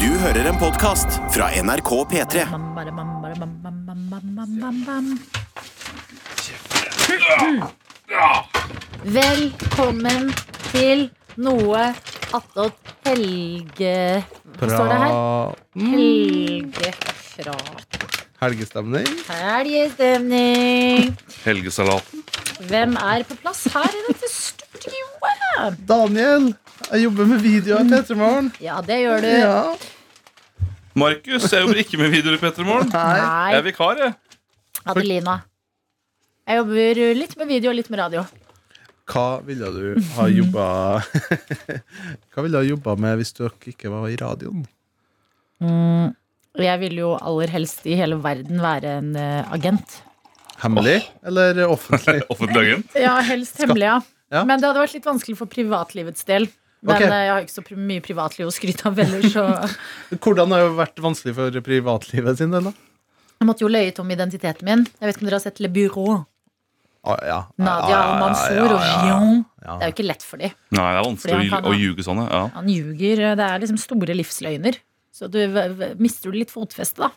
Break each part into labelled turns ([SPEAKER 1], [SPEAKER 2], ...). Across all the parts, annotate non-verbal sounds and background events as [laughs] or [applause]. [SPEAKER 1] Du hører en podkast fra NRK P3.
[SPEAKER 2] Bam, bare, bam, bare, bam, bam, bam, bam, bam, bam, bam. Velkommen til noe attåt helge... Hva står det her?
[SPEAKER 3] Bra
[SPEAKER 2] Helgeprat.
[SPEAKER 3] helgestemning.
[SPEAKER 2] Helgestemning.
[SPEAKER 4] Helgesalaten.
[SPEAKER 2] Hvem er på plass her i dette studioet?
[SPEAKER 3] Daniel, jeg jobber med videoer i P3 Morgen.
[SPEAKER 2] Ja, det gjør du.
[SPEAKER 3] Ja.
[SPEAKER 4] Markus, jeg jobber ikke med videoer i P3 Morgen.
[SPEAKER 3] Hei.
[SPEAKER 4] Jeg
[SPEAKER 2] Nei,
[SPEAKER 4] er vikar, jeg.
[SPEAKER 2] Adelina. Jeg jobber litt med video og litt med radio.
[SPEAKER 3] Hva ville du ha jobba [laughs] Hva ville du ha jobba med hvis dere ikke var i radioen?
[SPEAKER 2] Mm, og jeg vil jo aller helst i hele verden være en eh, agent.
[SPEAKER 3] Hemmelig eller [laughs] offentlig?
[SPEAKER 4] Offentlig agent.
[SPEAKER 2] Ja, helst hemmelig, ja.
[SPEAKER 3] Ja.
[SPEAKER 2] Men det hadde vært litt vanskelig for privatlivets del. Men
[SPEAKER 3] Ok.
[SPEAKER 2] eh, jeg har ikke så pri- mye privatliv å skryte av heller, så
[SPEAKER 3] [laughs]
[SPEAKER 2] jeg
[SPEAKER 3] Hvordan har det vært vanskelig for privatlivet sin? Eller?
[SPEAKER 2] måtte jo løyet om identiteten min. Jeg vet ikke om dere har sett Le Bureau.
[SPEAKER 3] Ah, ja.
[SPEAKER 2] Nadia
[SPEAKER 3] Ah,
[SPEAKER 2] og Mansour
[SPEAKER 3] ja,
[SPEAKER 2] og
[SPEAKER 3] ja,
[SPEAKER 2] Gion.
[SPEAKER 3] ja.
[SPEAKER 2] Det er jo ikke lett for dem.
[SPEAKER 4] Nei, det er
[SPEAKER 2] Fordi
[SPEAKER 4] vanskelig å,
[SPEAKER 2] han
[SPEAKER 4] lju-
[SPEAKER 2] kan ha-
[SPEAKER 4] å ljuge sånn. Ja.
[SPEAKER 2] Han ljuger. Det er liksom store livsløgner. Så du v- v- mister du litt fotfeste, da.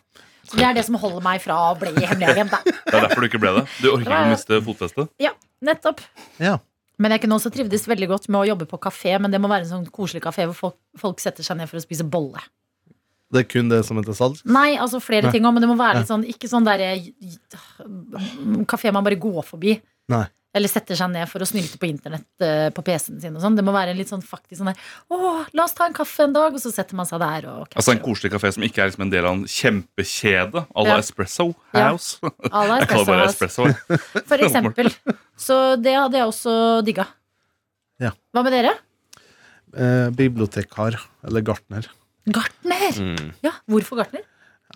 [SPEAKER 2] Så det er det som holder meg fra å bli hemmelig agent. da.
[SPEAKER 4] Det er derfor du ikke ble det. Du orker ikke å miste fotfestet.
[SPEAKER 2] Ja, nettopp.
[SPEAKER 3] Ja.
[SPEAKER 2] Men jeg kunne også trivdes veldig godt med å jobbe på kafé, men det må være en sånn koselig kafé hvor folk, folk setter seg ned for å spise bolle.
[SPEAKER 3] Det er kun det som er til salgs?
[SPEAKER 2] Nei, altså flere ting òg, men det må være litt sånn Ikke sånn der eh, kafé man bare går forbi.
[SPEAKER 3] Nei.
[SPEAKER 2] Eller setter seg ned for å snylte på internett eh, på PC-en sin og sånn. Det må være litt sånn faktisk sånn der Å, la oss ta en kaffe en dag, og så setter man seg der og
[SPEAKER 4] Altså En koselig kafé som ikke er liksom en del av en kjempekjede à la
[SPEAKER 2] Ja.
[SPEAKER 4] Espresso
[SPEAKER 2] Ja.
[SPEAKER 4] House. [laughs]
[SPEAKER 2] Alla
[SPEAKER 4] Jeg kaller det bare
[SPEAKER 2] espresso,
[SPEAKER 4] Espresso. jeg.
[SPEAKER 2] altså. for eksempel. Så det hadde jeg også digga.
[SPEAKER 3] Ja.
[SPEAKER 2] Hva med dere?
[SPEAKER 3] Eh, bibliotekar eller gartner.
[SPEAKER 2] Mm. Gartner!
[SPEAKER 4] Mm.
[SPEAKER 2] Ja, hvorfor gartner?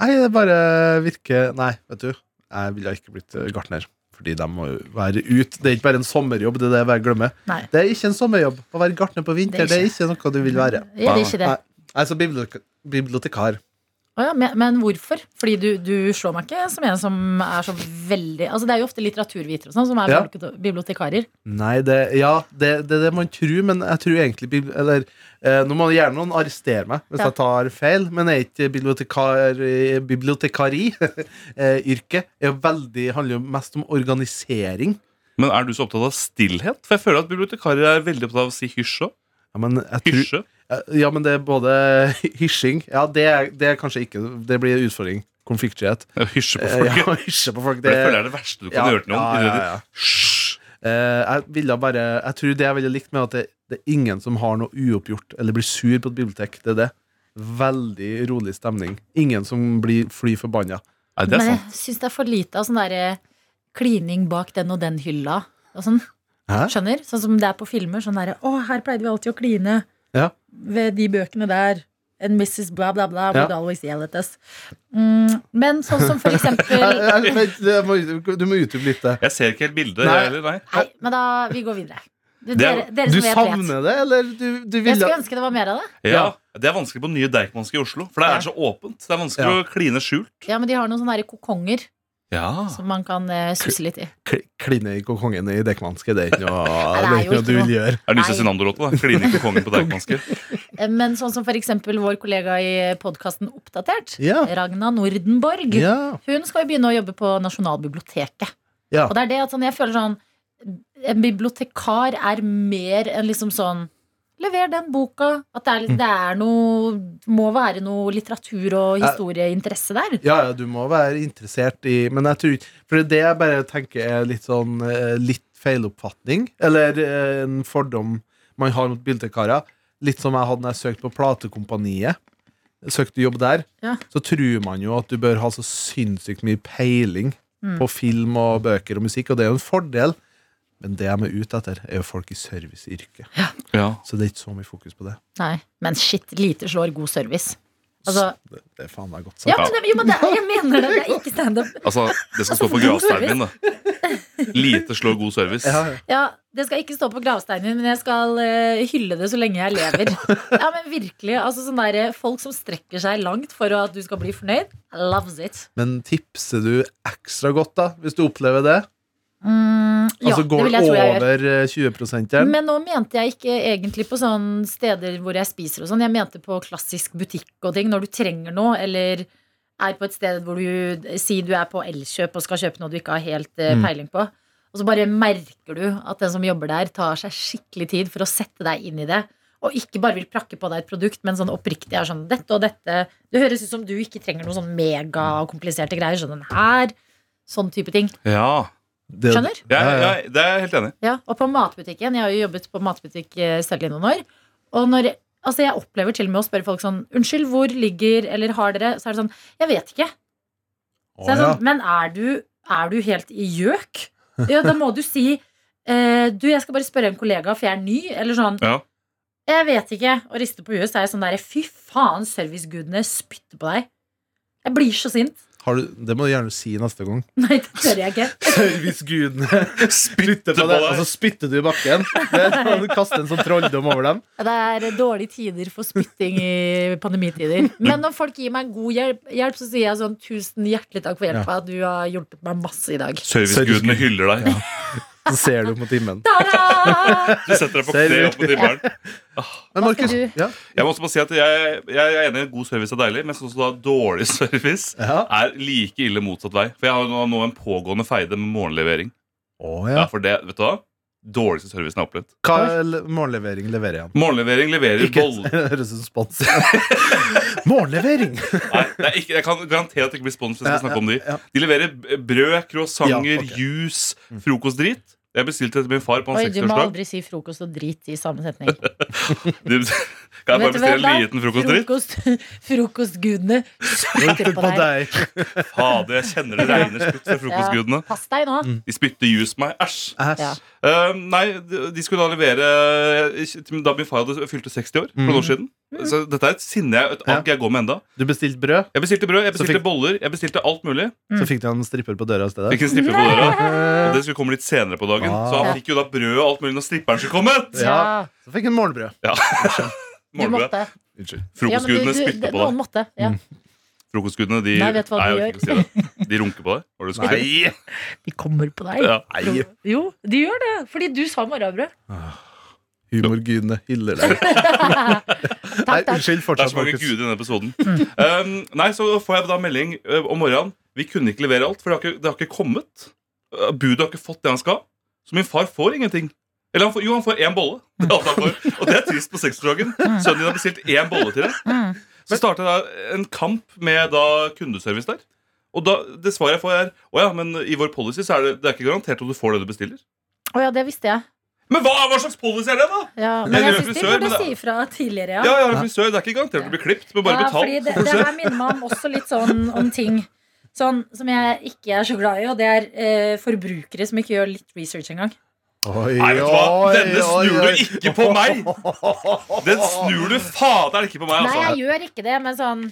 [SPEAKER 3] Nei, det bare virker Nei, vet du. Jeg ville ikke blitt eh, gartner. Fordi de må jo være ute. Det er ikke bare en sommerjobb. Det er det jeg bare glemmer.
[SPEAKER 2] Nei.
[SPEAKER 3] Det er ikke en sommerjobb. Å være gartner på vinter
[SPEAKER 2] Det
[SPEAKER 3] det
[SPEAKER 2] er
[SPEAKER 3] er ikke, noe du vil være.
[SPEAKER 2] Er det ikke det?
[SPEAKER 3] Nei, altså bibliotek bibliotekar.
[SPEAKER 2] Å ja, men, men hvorfor? Fordi du, du slår meg ikke som en som er så veldig Altså Det er jo ofte litteraturvitere og sånn som er
[SPEAKER 3] Ja.
[SPEAKER 2] biblioteka- bibliotekarer.
[SPEAKER 3] Nei, det Ja, det er det, det man tror, men jeg tror egentlig bibli- Eller eh, nå må gjerne noen arrestere meg hvis
[SPEAKER 2] Ja.
[SPEAKER 3] jeg tar feil, men jeg er ikke bibliotekar, eh, bibliotekari. [laughs] eh, yrket er jo veldig, handler jo mest om organisering.
[SPEAKER 4] Men er du så opptatt av stillhet? For jeg føler at bibliotekarer er veldig opptatt av å si hysje.
[SPEAKER 3] Ja, men jeg tror,
[SPEAKER 4] Hysje.
[SPEAKER 3] Eh, Ja, men det er både [laughs] hysjing Ja, det er, det er kanskje ikke Det blir en utfordring. Konfliktskyhet.
[SPEAKER 4] Ja, Hysje på
[SPEAKER 3] Eh,
[SPEAKER 4] folk.
[SPEAKER 3] Ja, [laughs]
[SPEAKER 4] ja.
[SPEAKER 3] hysje på folk.
[SPEAKER 4] For jeg føler det er det verste du kan gjøre til noen.
[SPEAKER 3] Ja, ja, ja, ja.
[SPEAKER 4] Hysj.
[SPEAKER 3] Eh, jeg, ville bare, jeg tror det jeg ville likt med at det, det er ingen som har noe uoppgjort eller blir sur på et bibliotek. Det er det. Veldig rolig stemning. Ingen som blir fly forbanna.
[SPEAKER 4] Nei, det
[SPEAKER 2] Men
[SPEAKER 4] er
[SPEAKER 2] jeg
[SPEAKER 4] sant.
[SPEAKER 2] syns det er for lite av sånn derre klining bak den og den hylla og sånn.
[SPEAKER 3] Hæ?
[SPEAKER 2] Skjønner? Sånn som det er på filmer. Sånn derre Å, her pleide vi alltid å kline.
[SPEAKER 3] Ja.
[SPEAKER 2] Ved de bøkene der. And Mrs. Bla, bla, bla would
[SPEAKER 3] Ja.
[SPEAKER 2] always yell at us. Mm, men sånn som for
[SPEAKER 3] [laughs] [laughs] Jeg,
[SPEAKER 2] eksempel
[SPEAKER 3] jeg, vent, jeg må, du må utdype litt eh. det.
[SPEAKER 4] Jeg ser ikke helt bildet.
[SPEAKER 3] Nei.
[SPEAKER 4] jeg heller, nei.
[SPEAKER 2] Nei, men da Vi går videre.
[SPEAKER 4] Det er-
[SPEAKER 2] Dere, dere
[SPEAKER 3] Du
[SPEAKER 2] som vet, vet.
[SPEAKER 3] savner det, eller du, du
[SPEAKER 2] Jeg
[SPEAKER 3] ville
[SPEAKER 2] skulle ønske det var mer av det.
[SPEAKER 4] Ja, Det er vanskelig på nye Deichmanske i Oslo, for det
[SPEAKER 2] Ja.
[SPEAKER 4] er så åpent. Det er vanskelig
[SPEAKER 3] Ja.
[SPEAKER 4] å kline skjult.
[SPEAKER 2] Ja, men de har noen sånne der kokonger
[SPEAKER 4] Ja.
[SPEAKER 3] Ah.
[SPEAKER 2] som man kan uh, susse litt i.
[SPEAKER 3] Kl- kline i kongen i Deichmanske? Det er ikke noe, det
[SPEAKER 2] Nei,
[SPEAKER 3] er
[SPEAKER 2] det er
[SPEAKER 3] ikke
[SPEAKER 2] jo
[SPEAKER 3] noe du
[SPEAKER 2] ikke
[SPEAKER 3] vil gjøre.
[SPEAKER 4] Er det
[SPEAKER 2] Nei.
[SPEAKER 4] Nisse Sinander-låta? da? Kline ikke kongen på Deichmanske.
[SPEAKER 2] Eh, Men sånn som for eksempel vår kollega i podkasten Oppdatert,
[SPEAKER 3] Ja.
[SPEAKER 2] Ragna Nordenborg.
[SPEAKER 3] Ja.
[SPEAKER 2] Hun skal jo begynne å jobbe på Nasjonalbiblioteket.
[SPEAKER 3] Ja.
[SPEAKER 2] Og det er det at sånn, jeg føler sånn En bibliotekar er mer enn liksom sånn Lever den boka. At det er,
[SPEAKER 3] Mm.
[SPEAKER 2] litt- det er noe Må være noe litteratur og historieinteresse der.
[SPEAKER 3] Ja, ja, du må være interessert i Men jeg tror ikke For det jeg bare tenker er litt sånn eh, Litt feiloppfatning, eller eh, en fordom man har mot bildekarer. Litt som jeg hadde når jeg søkte på Platekompaniet. Jeg Søkte jobb der.
[SPEAKER 2] Ja.
[SPEAKER 3] Så tror man jo at du bør ha så sinnssykt mye peiling
[SPEAKER 2] Mm.
[SPEAKER 3] på film og bøker og musikk, og det er jo en fordel. Men det de er ute etter, er jo folk i serviceyrket.
[SPEAKER 4] [laughs] Ja.
[SPEAKER 3] Så det er ikke så mye fokus på det.
[SPEAKER 2] Nei. Men shit, lite slår god service. Altså,
[SPEAKER 3] Det, det er faen meg godt
[SPEAKER 2] ja,
[SPEAKER 3] sagt.
[SPEAKER 2] men, det, jo, men det, er- jeg mener det. Det er ikke standup.
[SPEAKER 4] Altså, det skal stå på gravsteinen din, da. Lite slår god service.
[SPEAKER 3] Ja, ja.
[SPEAKER 2] Ja, Det skal ikke stå på gravsteinen, men jeg skal eh, hylle det så lenge jeg
[SPEAKER 3] [laughs]
[SPEAKER 2] lever. ja, men virkelig, altså sånn der, eh, Folk som strekker seg langt for at du skal bli fornøyd, loves it.
[SPEAKER 3] Men tipser du ekstra godt, da, hvis du opplever det?
[SPEAKER 2] Mm, ja,
[SPEAKER 3] altså går
[SPEAKER 2] det vil jeg tro jeg gjør.
[SPEAKER 3] over eh, 20-prosenteren.
[SPEAKER 2] Men nå mente jeg ikke egentlig på sånne steder hvor jeg spiser og sånn. Jeg mente på klassisk butikk og ting. Når du trenger noe, eller er på et sted hvor du Si du er på Elkjøp og skal kjøpe noe du ikke har helt eh,
[SPEAKER 3] Mm.
[SPEAKER 2] peiling på. Og så bare merker du at den som jobber der, tar seg skikkelig tid for å sette deg inn i det. Og ikke bare vil prakke på deg et produkt, men sånn oppriktig er sånn Dette og dette Det høres ut som du ikke trenger noen sånn megakompliserte greier. Sånn den her. Sånn type ting.
[SPEAKER 4] Ja.
[SPEAKER 3] Det-
[SPEAKER 2] Skjønner?
[SPEAKER 4] Jeg,
[SPEAKER 3] Ja, ja.
[SPEAKER 4] jeg, det er jeg helt enig i.
[SPEAKER 2] Ja, og på matbutikken. Jeg har jo jobbet på matbutikk eh, selv i noen år. Og når, altså jeg opplever til og med å spørre folk sånn Unnskyld, hvor ligger eller har dere? Så er det sånn Jeg vet ikke. Så er
[SPEAKER 3] Å,
[SPEAKER 2] det
[SPEAKER 3] ja.
[SPEAKER 2] sånn, Men er du, er du helt i gjøk? Ja, da må du si eh, Du, jeg skal bare spørre en kollega, for jeg er ny. Eller sånn.
[SPEAKER 4] Ja.
[SPEAKER 2] Jeg vet ikke. Og rister på huet, så er jeg sånn derre Fy faen, servicegudene spytter på deg. Jeg blir så sint.
[SPEAKER 3] Har du, det må du gjerne si neste
[SPEAKER 4] [laughs]
[SPEAKER 3] gang.
[SPEAKER 2] Nei, det tør jeg ikke.
[SPEAKER 3] Hvis gudene spytter
[SPEAKER 4] på
[SPEAKER 3] på deg,
[SPEAKER 4] deg.
[SPEAKER 3] og så spytter du i bakken. Det, du kaster en sånn trolldom over dem.
[SPEAKER 2] Ja, Det er dårlige tider for spytting i pandemitider. Men når folk gir meg god hjelp, hjelp så sier jeg sånn tusen hjertelig takk for hjelpa. Du har hjulpet meg masse i dag.
[SPEAKER 4] Servicegudene hyller deg.
[SPEAKER 3] Så ser du på timen.
[SPEAKER 2] Ta-da!
[SPEAKER 4] Du setter deg på kne opp på timmeren.
[SPEAKER 3] Men
[SPEAKER 2] Hva skal
[SPEAKER 3] Markus,
[SPEAKER 2] du-
[SPEAKER 3] ja,
[SPEAKER 4] Jeg må også bare si at jeg, jeg er enig i at god service er deilig, men sånn som da dårlig [laughs] service
[SPEAKER 3] Ja.
[SPEAKER 4] er like ille motsatt vei. For jeg har nå, nå en pågående feide med morgenlevering.
[SPEAKER 3] Å,
[SPEAKER 4] Ja.
[SPEAKER 3] ja.
[SPEAKER 4] for det, vet du hva? Dårligste servicen jeg har opplevd.
[SPEAKER 3] Hva er le- morgenlevering leverer igjen?
[SPEAKER 4] Morgenlevering leverer
[SPEAKER 3] Ikke
[SPEAKER 4] boller
[SPEAKER 3] [laughs] høres ut som spons. Morgenlevering!
[SPEAKER 4] Nei, det er ikke, jeg kan garantere at det ikke blir spons hvis jeg
[SPEAKER 3] Ja,
[SPEAKER 4] skal snakke om de.
[SPEAKER 3] ja.
[SPEAKER 4] De leverer b- brød, croissanter,
[SPEAKER 3] Ja, ok.
[SPEAKER 4] juice, frokostdrit. Jeg bestilte etter min far på
[SPEAKER 2] Oi,
[SPEAKER 4] hans
[SPEAKER 2] du må
[SPEAKER 4] 60-årsdag.
[SPEAKER 2] aldri si frokost og drit i samme setning.
[SPEAKER 4] Du- [laughs] Kan jeg bare
[SPEAKER 2] Vet du hva
[SPEAKER 4] bestille en
[SPEAKER 2] da?
[SPEAKER 4] liten frokostdrit?
[SPEAKER 2] Frokost, frokostgudene spytter på
[SPEAKER 3] På
[SPEAKER 2] deg.
[SPEAKER 3] deg.
[SPEAKER 4] Fader, jeg kjenner det regner
[SPEAKER 2] [laughs]
[SPEAKER 4] spytt fra frokostgudene.
[SPEAKER 2] Pass deg nå.
[SPEAKER 4] De spytter juice på meg. Æsj.
[SPEAKER 2] Ja.
[SPEAKER 3] Æsj.
[SPEAKER 4] Eh, nei, de de skulle da levere eh, til- Da min far hadde fylte 60 år for
[SPEAKER 3] Mhm.
[SPEAKER 4] noen år siden. Så dette er et sinne jeg, et agg jeg går med enda
[SPEAKER 3] Du bestilte brød,
[SPEAKER 4] Jeg bestilte brød, jeg
[SPEAKER 3] Så
[SPEAKER 4] bestilte
[SPEAKER 3] fikk-
[SPEAKER 4] boller, jeg bestilte alt mulig.
[SPEAKER 3] så fikk du en stripper på døra i stedet.
[SPEAKER 4] Fikk en stripper på døra.
[SPEAKER 3] Eh,
[SPEAKER 4] Og det skulle komme litt senere på dagen.
[SPEAKER 3] Ah.
[SPEAKER 4] Så han fikk jo da brød og alt mulig når stripperen skulle komme.
[SPEAKER 3] Ja. Så fikk du morgenbrød.
[SPEAKER 4] Ja.
[SPEAKER 2] Du
[SPEAKER 4] Morgenbrød.
[SPEAKER 2] måtte. Ja, men
[SPEAKER 4] Unnskyld.
[SPEAKER 2] du,
[SPEAKER 4] Frokostgudene
[SPEAKER 2] du,
[SPEAKER 4] spytter
[SPEAKER 2] det-
[SPEAKER 4] på
[SPEAKER 2] noen
[SPEAKER 4] deg.
[SPEAKER 2] måtte. Ja.
[SPEAKER 4] Frokostgudene, de
[SPEAKER 2] Nei, vet du hva de
[SPEAKER 4] jeg
[SPEAKER 2] [laughs]
[SPEAKER 4] orker ikke å si det. De runker på deg. Var det du skulle si?
[SPEAKER 2] De kommer på deg.
[SPEAKER 4] Ja.
[SPEAKER 2] Jo, de gjør det. Fordi du sa morgenbrød.
[SPEAKER 3] Humorgudene hyller
[SPEAKER 4] [laughs]
[SPEAKER 3] deg. Nei,
[SPEAKER 2] Takk, takk.
[SPEAKER 3] unnskyld,
[SPEAKER 4] Det er
[SPEAKER 3] fortsett,
[SPEAKER 4] så mange
[SPEAKER 3] Markus.
[SPEAKER 4] guder i denne episoden.
[SPEAKER 2] Mm.
[SPEAKER 4] Um, nei, så får jeg da melding ø, om morgenen. Vi kunne ikke levere alt, for det har ikke, det har ikke kommet. Uh, Budet har ikke fått det han skal. Så min far får ingenting. Eller han får, jo, han får én bolle. Det er alt han får. Og det er trist på seksdagen. Sønnen din har bestilt én bolle til
[SPEAKER 2] Mm.
[SPEAKER 4] deg. Så starta jeg da en kamp med da kundeservice der. Og da, det svaret jeg får, er Å ja, men i vår policy så er det, det er ikke garantert at du får det du bestiller.
[SPEAKER 2] Å ja, det visste jeg.
[SPEAKER 4] Men hva, hva slags policy er det, da?
[SPEAKER 2] Ja,
[SPEAKER 4] Jeg
[SPEAKER 2] men jeg
[SPEAKER 4] gjør
[SPEAKER 2] syns de
[SPEAKER 4] frisør, men
[SPEAKER 2] burde
[SPEAKER 4] det-
[SPEAKER 2] si ifra tidligere,
[SPEAKER 4] Ja, jeg har en frisør. Det er ikke garantert at du blir klippet, men bare
[SPEAKER 2] ja,
[SPEAKER 4] betalt.
[SPEAKER 2] fordi det, det her minner meg om også litt sånn om ting sånn, som jeg ikke er så glad i, og det er eh, forbrukere som ikke gjør litt research engang.
[SPEAKER 3] Oi,
[SPEAKER 4] Nei, vet du hva?
[SPEAKER 3] oi,
[SPEAKER 4] Denne
[SPEAKER 3] oi,
[SPEAKER 4] snur
[SPEAKER 3] oi.
[SPEAKER 4] du ikke på meg! Den snur du fader ikke på meg,
[SPEAKER 2] Nei,
[SPEAKER 4] altså.
[SPEAKER 2] jeg gjør ikke det, men sånn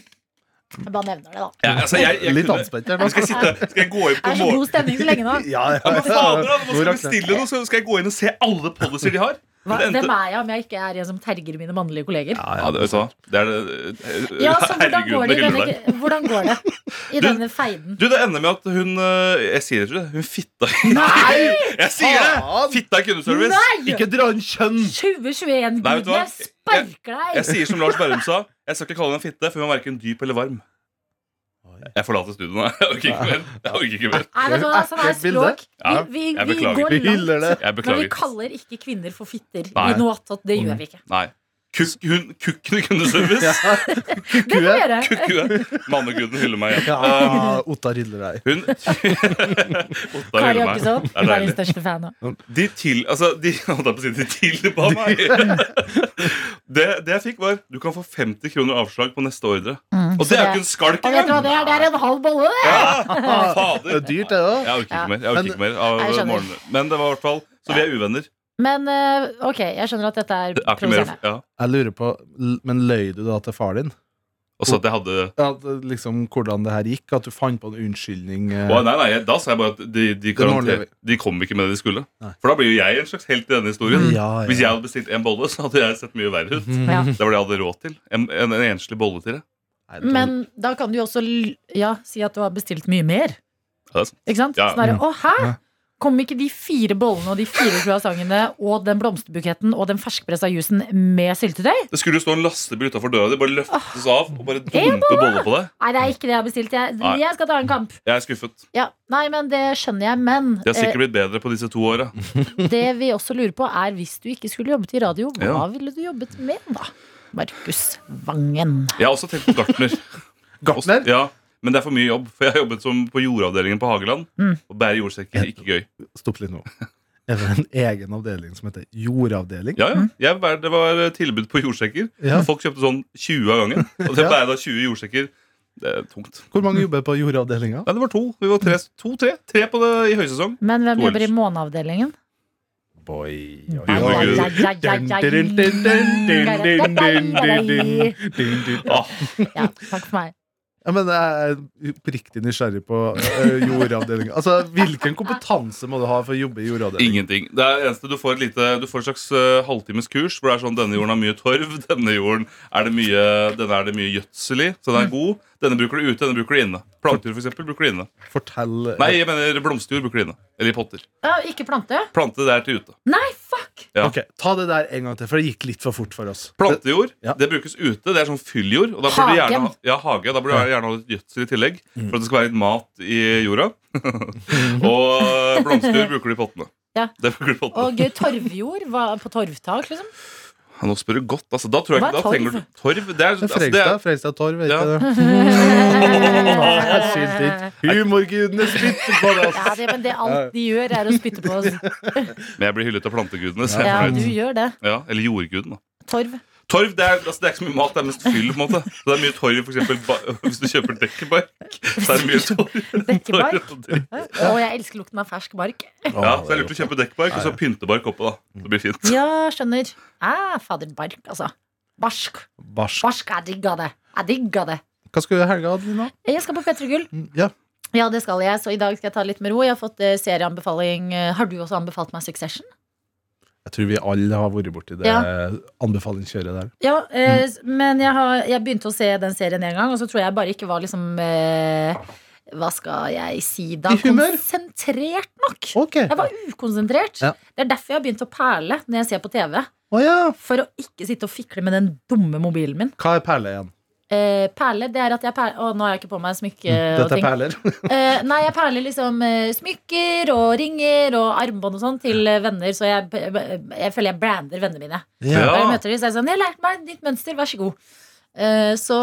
[SPEAKER 2] Jeg bare nevner det, da.
[SPEAKER 4] Ja, altså jeg, jeg
[SPEAKER 3] Litt
[SPEAKER 4] kunne-
[SPEAKER 3] anspent her
[SPEAKER 4] Nå
[SPEAKER 3] nå.
[SPEAKER 4] skal jeg, sitte, skal jeg gå inn
[SPEAKER 2] Det
[SPEAKER 4] på
[SPEAKER 2] er så
[SPEAKER 4] morgen...
[SPEAKER 2] god stemning så lenge nå.
[SPEAKER 3] Ja,
[SPEAKER 4] [laughs] Ja, men fader, da, nå
[SPEAKER 3] Nå
[SPEAKER 4] skal jeg
[SPEAKER 3] rakk det.
[SPEAKER 4] bestille noe, så skal jeg gå inn og se alle policies de har.
[SPEAKER 2] Hva,
[SPEAKER 4] Men det
[SPEAKER 2] hvem
[SPEAKER 4] endte...
[SPEAKER 2] er jeg om jeg ikke er en som terger mine mannlige kolleger?
[SPEAKER 4] Ja, det, vet du hva? det er det
[SPEAKER 2] Ja, så hvordan
[SPEAKER 4] Herregud,
[SPEAKER 2] går det
[SPEAKER 4] det
[SPEAKER 2] i
[SPEAKER 4] hyller deg.
[SPEAKER 2] denne, hvordan går
[SPEAKER 4] [laughs]
[SPEAKER 2] det i
[SPEAKER 4] Du-
[SPEAKER 2] denne feiden?
[SPEAKER 4] Du, det ender med at hun eh, Jeg sier det, tror jeg. Hun fitta [laughs] Jeg sier det!
[SPEAKER 3] Faen!
[SPEAKER 4] Fitta i kundeservice.
[SPEAKER 2] Nei!
[SPEAKER 3] Ikke dra en kjønn!
[SPEAKER 2] 2021-guden,
[SPEAKER 4] vet du hva?
[SPEAKER 2] jeg sparker
[SPEAKER 4] Jeg
[SPEAKER 2] deg!
[SPEAKER 4] sier som Lars Berrum sa, jeg skal ikke kalle henne en fitte, for hun var verken dyp eller varm. Jeg forlater studioet nå. [laughs] Jeg orker ikke mer. Jeg orker ikke mer.
[SPEAKER 2] Nei, vet du hva, sånn er
[SPEAKER 3] Ekkelt bilde.
[SPEAKER 2] språk.
[SPEAKER 4] Ja,
[SPEAKER 2] Vi, vi, vi
[SPEAKER 4] jeg beklager.
[SPEAKER 2] går
[SPEAKER 3] Vi
[SPEAKER 2] langt.
[SPEAKER 3] hyller det.
[SPEAKER 4] Jeg
[SPEAKER 2] Men vi
[SPEAKER 4] beklager.
[SPEAKER 2] kaller ikke kvinner for fitter
[SPEAKER 4] Nei.
[SPEAKER 2] i noe attåt. Det gjør vi ikke.
[SPEAKER 4] Nei. Kukk, hun, kukken i kundeservice.
[SPEAKER 2] Det kan vi gjøre.
[SPEAKER 4] Kukkue. Manneguden hyller meg igjen.
[SPEAKER 3] Ja,
[SPEAKER 4] Ah.
[SPEAKER 3] Ottar hyller deg.
[SPEAKER 4] Hun [laughs] Ottar
[SPEAKER 2] Kari
[SPEAKER 4] hyller meg. Det
[SPEAKER 2] Jakkesson,
[SPEAKER 4] er
[SPEAKER 2] verdens
[SPEAKER 4] deilig.
[SPEAKER 2] største fan. av.
[SPEAKER 4] De til... Altså, de [laughs] holdt jeg på å si, de tilba meg. [laughs] Det, det jeg fikk, var du kan få 50 kroner avslag på neste ordre.
[SPEAKER 2] Mm.
[SPEAKER 4] Og det er jo ikke en skalk
[SPEAKER 2] Og vet du hva
[SPEAKER 4] engang!
[SPEAKER 2] det er? Det er en halv bolle! det!
[SPEAKER 4] Ja,
[SPEAKER 3] Ah, Det er
[SPEAKER 4] Fader.
[SPEAKER 3] dyrt, det òg.
[SPEAKER 4] Jeg orker ikke mer. Jeg orker ikke mer av
[SPEAKER 2] Nei, jeg skjønner.
[SPEAKER 4] morgenen. Men det var i hvert fall Så vi er uvenner.
[SPEAKER 2] Men eh, ok, jeg skjønner at dette er
[SPEAKER 4] Det er ikke mer
[SPEAKER 2] provoserende.
[SPEAKER 4] ja.
[SPEAKER 3] Jeg lurer på, l- men løy du da til far din?
[SPEAKER 4] Og så at jeg hadde
[SPEAKER 3] Ja, at, eh, liksom Hvordan det her gikk? At du fant på en unnskyldning? eh,
[SPEAKER 4] Å, nei, nei, jeg- Da sa jeg bare at de, de,
[SPEAKER 3] ordner
[SPEAKER 4] garanter,
[SPEAKER 3] vi.
[SPEAKER 4] de kom ikke med det de skulle.
[SPEAKER 3] Nei.
[SPEAKER 4] For da blir jo jeg en slags helt i denne historien.
[SPEAKER 3] Mm, ja, ja.
[SPEAKER 4] Hvis jeg hadde bestilt en bolle, så hadde jeg sett mye verre ut.
[SPEAKER 3] Mm.
[SPEAKER 2] Ja.
[SPEAKER 4] Det var det jeg hadde råd til. En, en, en enslig bolle til det.
[SPEAKER 3] Nei, det-
[SPEAKER 2] [laughs] Men da kan du jo også l- ja, si at du har bestilt mye mer.
[SPEAKER 4] Ja, det er sant.
[SPEAKER 2] Ikke sant?
[SPEAKER 4] Ja.
[SPEAKER 2] Sånn der, Å, hæ?
[SPEAKER 3] Ja.
[SPEAKER 2] Kom ikke de fire bollene og de fire croissantene og den blomsterbuketten og den ferskpressa jusen med syltetøy?
[SPEAKER 4] Det skulle jo stå en lastebil utafor døra di, bare løftes av og bare dumpe boller på deg.
[SPEAKER 2] Nei, det er ikke det jeg har bestilt. Jeg,
[SPEAKER 4] Nei.
[SPEAKER 2] jeg skal ta en kamp.
[SPEAKER 4] Jeg er skuffet.
[SPEAKER 2] Ja, Nei, men det skjønner jeg. Men
[SPEAKER 4] Jeg har sikkert blitt bedre på disse to åra.
[SPEAKER 2] eh, det vi også lurer på, er hvis du ikke skulle jobbet i radio, hva
[SPEAKER 4] Ja.
[SPEAKER 2] ville du jobbet med da? Markus Vangen.
[SPEAKER 4] Jeg har også tenkt på
[SPEAKER 3] [laughs]
[SPEAKER 4] gartner.
[SPEAKER 3] Gartner?
[SPEAKER 4] Ja, men det er for mye jobb. For jeg har jobbet som på jordavdelingen på Hageland.
[SPEAKER 2] Mm.
[SPEAKER 4] Og bære jordsekker ikke gøy.
[SPEAKER 3] Stopp litt nå. Er det en egen avdeling som heter jordavdeling?
[SPEAKER 4] Ja, ja. Jeg, bærer- det var tilbud på jordsekker.
[SPEAKER 3] Ja.
[SPEAKER 4] Folk kjøpte sånn 20 av gangen. Og
[SPEAKER 3] [laughs]
[SPEAKER 4] det
[SPEAKER 3] Ja.
[SPEAKER 4] bærer da 20 jordsekker. Det er tungt.
[SPEAKER 3] Hvor mange jobber på jordavdelinga?
[SPEAKER 4] Nei, det var to. Vi var tre, to, tre. Tre på det i høysesong.
[SPEAKER 2] Men hvem
[SPEAKER 4] To
[SPEAKER 2] jobber i
[SPEAKER 4] ellers.
[SPEAKER 2] måneavdelingen?
[SPEAKER 5] Boy,
[SPEAKER 4] Nei,
[SPEAKER 5] oi,
[SPEAKER 4] nei,
[SPEAKER 5] oi.
[SPEAKER 4] Gud.
[SPEAKER 3] Ja,
[SPEAKER 4] Ah,
[SPEAKER 2] Ja, takk for meg.
[SPEAKER 3] men jeg er oppriktig nysgjerrig på jordavdelinga. Altså, Hvilken kompetanse må du ha for å jobbe i jordavdelinga?
[SPEAKER 4] ingenting. Det er det eneste Du får et lite Du får et slags eh, halvtimes kurs hvor det er sånn denne jorden har mye torv, [laughs] denne jorden er det mye Denne er det mye gjødsel i, så den
[SPEAKER 3] Mm.
[SPEAKER 4] er god. Denne bruker du ute, denne bruker du inne. Planter, for eksempel, bruker du inne.
[SPEAKER 3] Fortell
[SPEAKER 4] Nei, jeg mener blomsterjord bruker du inne. Eller i potter.
[SPEAKER 2] Ja, ikke plante?
[SPEAKER 4] Plante det er til ute.
[SPEAKER 2] Nei, fuck!
[SPEAKER 4] Ja.
[SPEAKER 3] Ok, Ta det der en gang til, for det gikk litt for fort for oss.
[SPEAKER 4] Plantejord
[SPEAKER 3] Ja.
[SPEAKER 4] det brukes ute. Det er sånn fylljord. Og da burde du gjerne,
[SPEAKER 2] Hagen.
[SPEAKER 4] ha- ja, Mm. hage. Da burde du gjerne ha litt gjødsel i tillegg. For at det skal være litt mat i [laughs] jorda. og blomsterjord bruker du i pottene.
[SPEAKER 2] Ja.
[SPEAKER 4] Det bruker du i pottene.
[SPEAKER 2] Og torvjord hva- på torvtak, liksom?
[SPEAKER 4] Ja, Nå spør du godt. Altså, da tror jeg
[SPEAKER 2] Hva
[SPEAKER 4] ikke
[SPEAKER 2] er
[SPEAKER 4] da trenger du Torv? Det er, altså, det
[SPEAKER 3] Fredrikstad
[SPEAKER 4] er
[SPEAKER 3] Fredrikstad Torv, vet
[SPEAKER 4] Ja.
[SPEAKER 3] ikke det? Åh, sylt hit. Humorgudene spytter på det!
[SPEAKER 2] Ja, det, men det alt de gjør, er å spytte på oss.
[SPEAKER 4] Men jeg blir hyllet av plantegudene. Så jeg
[SPEAKER 2] Ja,
[SPEAKER 4] er
[SPEAKER 2] du
[SPEAKER 4] fornøyd.
[SPEAKER 2] gjør det.
[SPEAKER 4] Ja, eller jordguden, da.
[SPEAKER 2] Torv.
[SPEAKER 4] Torv det er, altså, det er ikke så mye mat, det er mest fyll. på en måte Så Det er mye torv for eksempel, ba Hvis du kjøper dekkebark, så er det mye torv.
[SPEAKER 2] Dekkebark.
[SPEAKER 4] Torv og dekk.
[SPEAKER 2] Og jeg elsker lukten av fersk bark.
[SPEAKER 4] Ja, så det er lurt å kjøpe dekkebark og så pyntebark oppå. da Det blir fint.
[SPEAKER 2] Ja, skjønner. Ah, fader, bark, altså. Barsk.
[SPEAKER 3] Barsk.
[SPEAKER 2] Barsk, jeg digger det. Jeg digger det.
[SPEAKER 3] Hva skal du gjøre i helga, Adelina?
[SPEAKER 2] Jeg skal på P3 Gull.
[SPEAKER 3] Ja.
[SPEAKER 2] Ja, det skal jeg, så i dag skal jeg ta det litt med ro. Jeg har fått eh, serieanbefaling. Eh, Har du også anbefalt meg Succession?
[SPEAKER 3] Jeg tror vi alle har vært borti det
[SPEAKER 2] Ja.
[SPEAKER 3] anbefalingskjøret der.
[SPEAKER 2] Ja, eh, s- men jeg, har, jeg begynte å se den serien en gang, og så tror jeg bare ikke var liksom eh, Hva skal jeg si da?
[SPEAKER 3] I humør?
[SPEAKER 2] Konsentrert nok.
[SPEAKER 3] Ok.
[SPEAKER 2] Jeg var ukonsentrert.
[SPEAKER 3] Ja.
[SPEAKER 2] Det er derfor jeg har begynt å perle når jeg ser på TV.
[SPEAKER 3] Å ja.
[SPEAKER 2] For å ikke sitte og fikle med den dumme mobilen min.
[SPEAKER 3] Hva er perle igjen?
[SPEAKER 2] Eh, perle, det er at jeg perler Å, nå har jeg ikke på meg smykke og
[SPEAKER 3] Mm, Dette er
[SPEAKER 2] ting.
[SPEAKER 3] perler. [laughs]
[SPEAKER 2] Eh, nei, jeg perler liksom eh, smykker og ringer og armbånd og sånn til eh, venner, så jeg, jeg føler jeg brander vennene mine.
[SPEAKER 4] Ja.
[SPEAKER 2] Når jeg møter dem, så er jeg sånn Jeg har lært meg ditt mønster, vær så god. Eh, så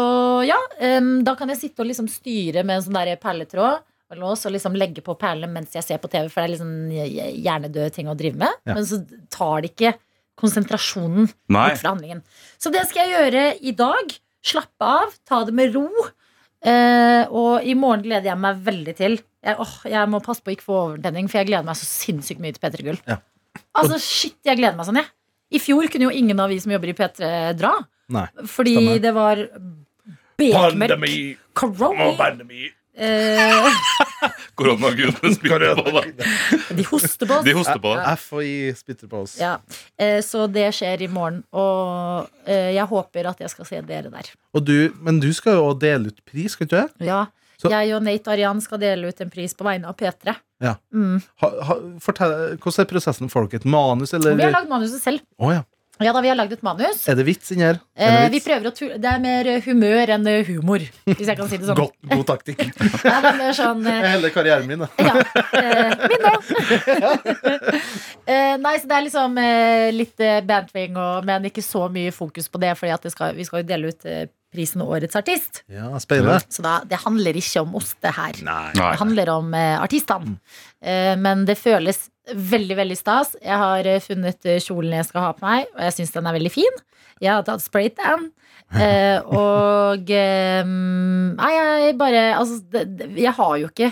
[SPEAKER 2] ja, em, da kan jeg sitte og liksom styre med en sånn der perletråd og lås og liksom legge på perlene mens jeg ser på TV, for det er liksom hjernedøde ting å drive med.
[SPEAKER 3] Ja.
[SPEAKER 2] Men så tar det ikke konsentrasjonen
[SPEAKER 4] Nei.
[SPEAKER 2] bort fra handlingen. Så det skal jeg gjøre i dag. Slappe av, ta det med ro. Eh, og i morgen gleder jeg meg veldig til. Jeg, åh, jeg må passe på å ikke få overtenning, for jeg gleder meg så sinnssykt mye til P3 Gull.
[SPEAKER 3] Ja.
[SPEAKER 2] Altså, shit, jeg gleder meg sånn, jeg. I fjor kunne jo ingen av vi som jobber i P3 dra.
[SPEAKER 3] Nei.
[SPEAKER 2] Fordi
[SPEAKER 3] Stemmer.
[SPEAKER 2] det var bekmørkt. Corona. Eh,
[SPEAKER 4] Koronagudene spytter på deg.
[SPEAKER 2] de hoster på oss.
[SPEAKER 4] [laughs] De hoster på deg.
[SPEAKER 3] F og I spytter på oss.
[SPEAKER 2] Ja. Eh, så det skjer i morgen. Og eh, jeg håper at jeg skal se dere der.
[SPEAKER 3] Og du, men du skal jo også dele ut pris, skal ikke du? det?
[SPEAKER 2] Ja,
[SPEAKER 3] Så-
[SPEAKER 2] Jeg og Nate og Arian skal dele ut en pris på vegne av P3.
[SPEAKER 3] Ja.
[SPEAKER 2] Mm.
[SPEAKER 3] Ha, ha, fortell, hvordan er prosessen? Får dere et manus, eller?
[SPEAKER 2] Vi har lagd manuset selv.
[SPEAKER 3] Å ja.
[SPEAKER 2] Ja da, vi har lagd et manus.
[SPEAKER 3] Er det vits inni her? Er
[SPEAKER 2] Eh,
[SPEAKER 3] det
[SPEAKER 2] vi
[SPEAKER 3] vits?
[SPEAKER 2] prøver å tu Det er mer humør enn eh, humor, hvis jeg kan si det sånn.
[SPEAKER 3] [laughs] Godt, god taktikk.
[SPEAKER 2] [laughs] Ja, det er mer sånn eh,
[SPEAKER 3] Hele karrieren min, da.
[SPEAKER 2] ja, eh, min òg.
[SPEAKER 3] [laughs]
[SPEAKER 2] eh, nei, så det er liksom eh, litt eh, bantering, og, men ikke så mye fokus på det, for vi skal jo dele ut eh, prisen Årets artist.
[SPEAKER 3] Ja, spennende.
[SPEAKER 2] Så da, det handler ikke om oss, det her.
[SPEAKER 4] Nei.
[SPEAKER 2] Det handler om eh, artistene. Eh, men det føles veldig veldig stas. Jeg har eh, funnet eh, kjolen jeg skal ha på meg, og jeg syns den er veldig fin. Jeg har tatt spraytan. Eh, og eh, Nei, jeg bare Altså, det, det, jeg har jo ikke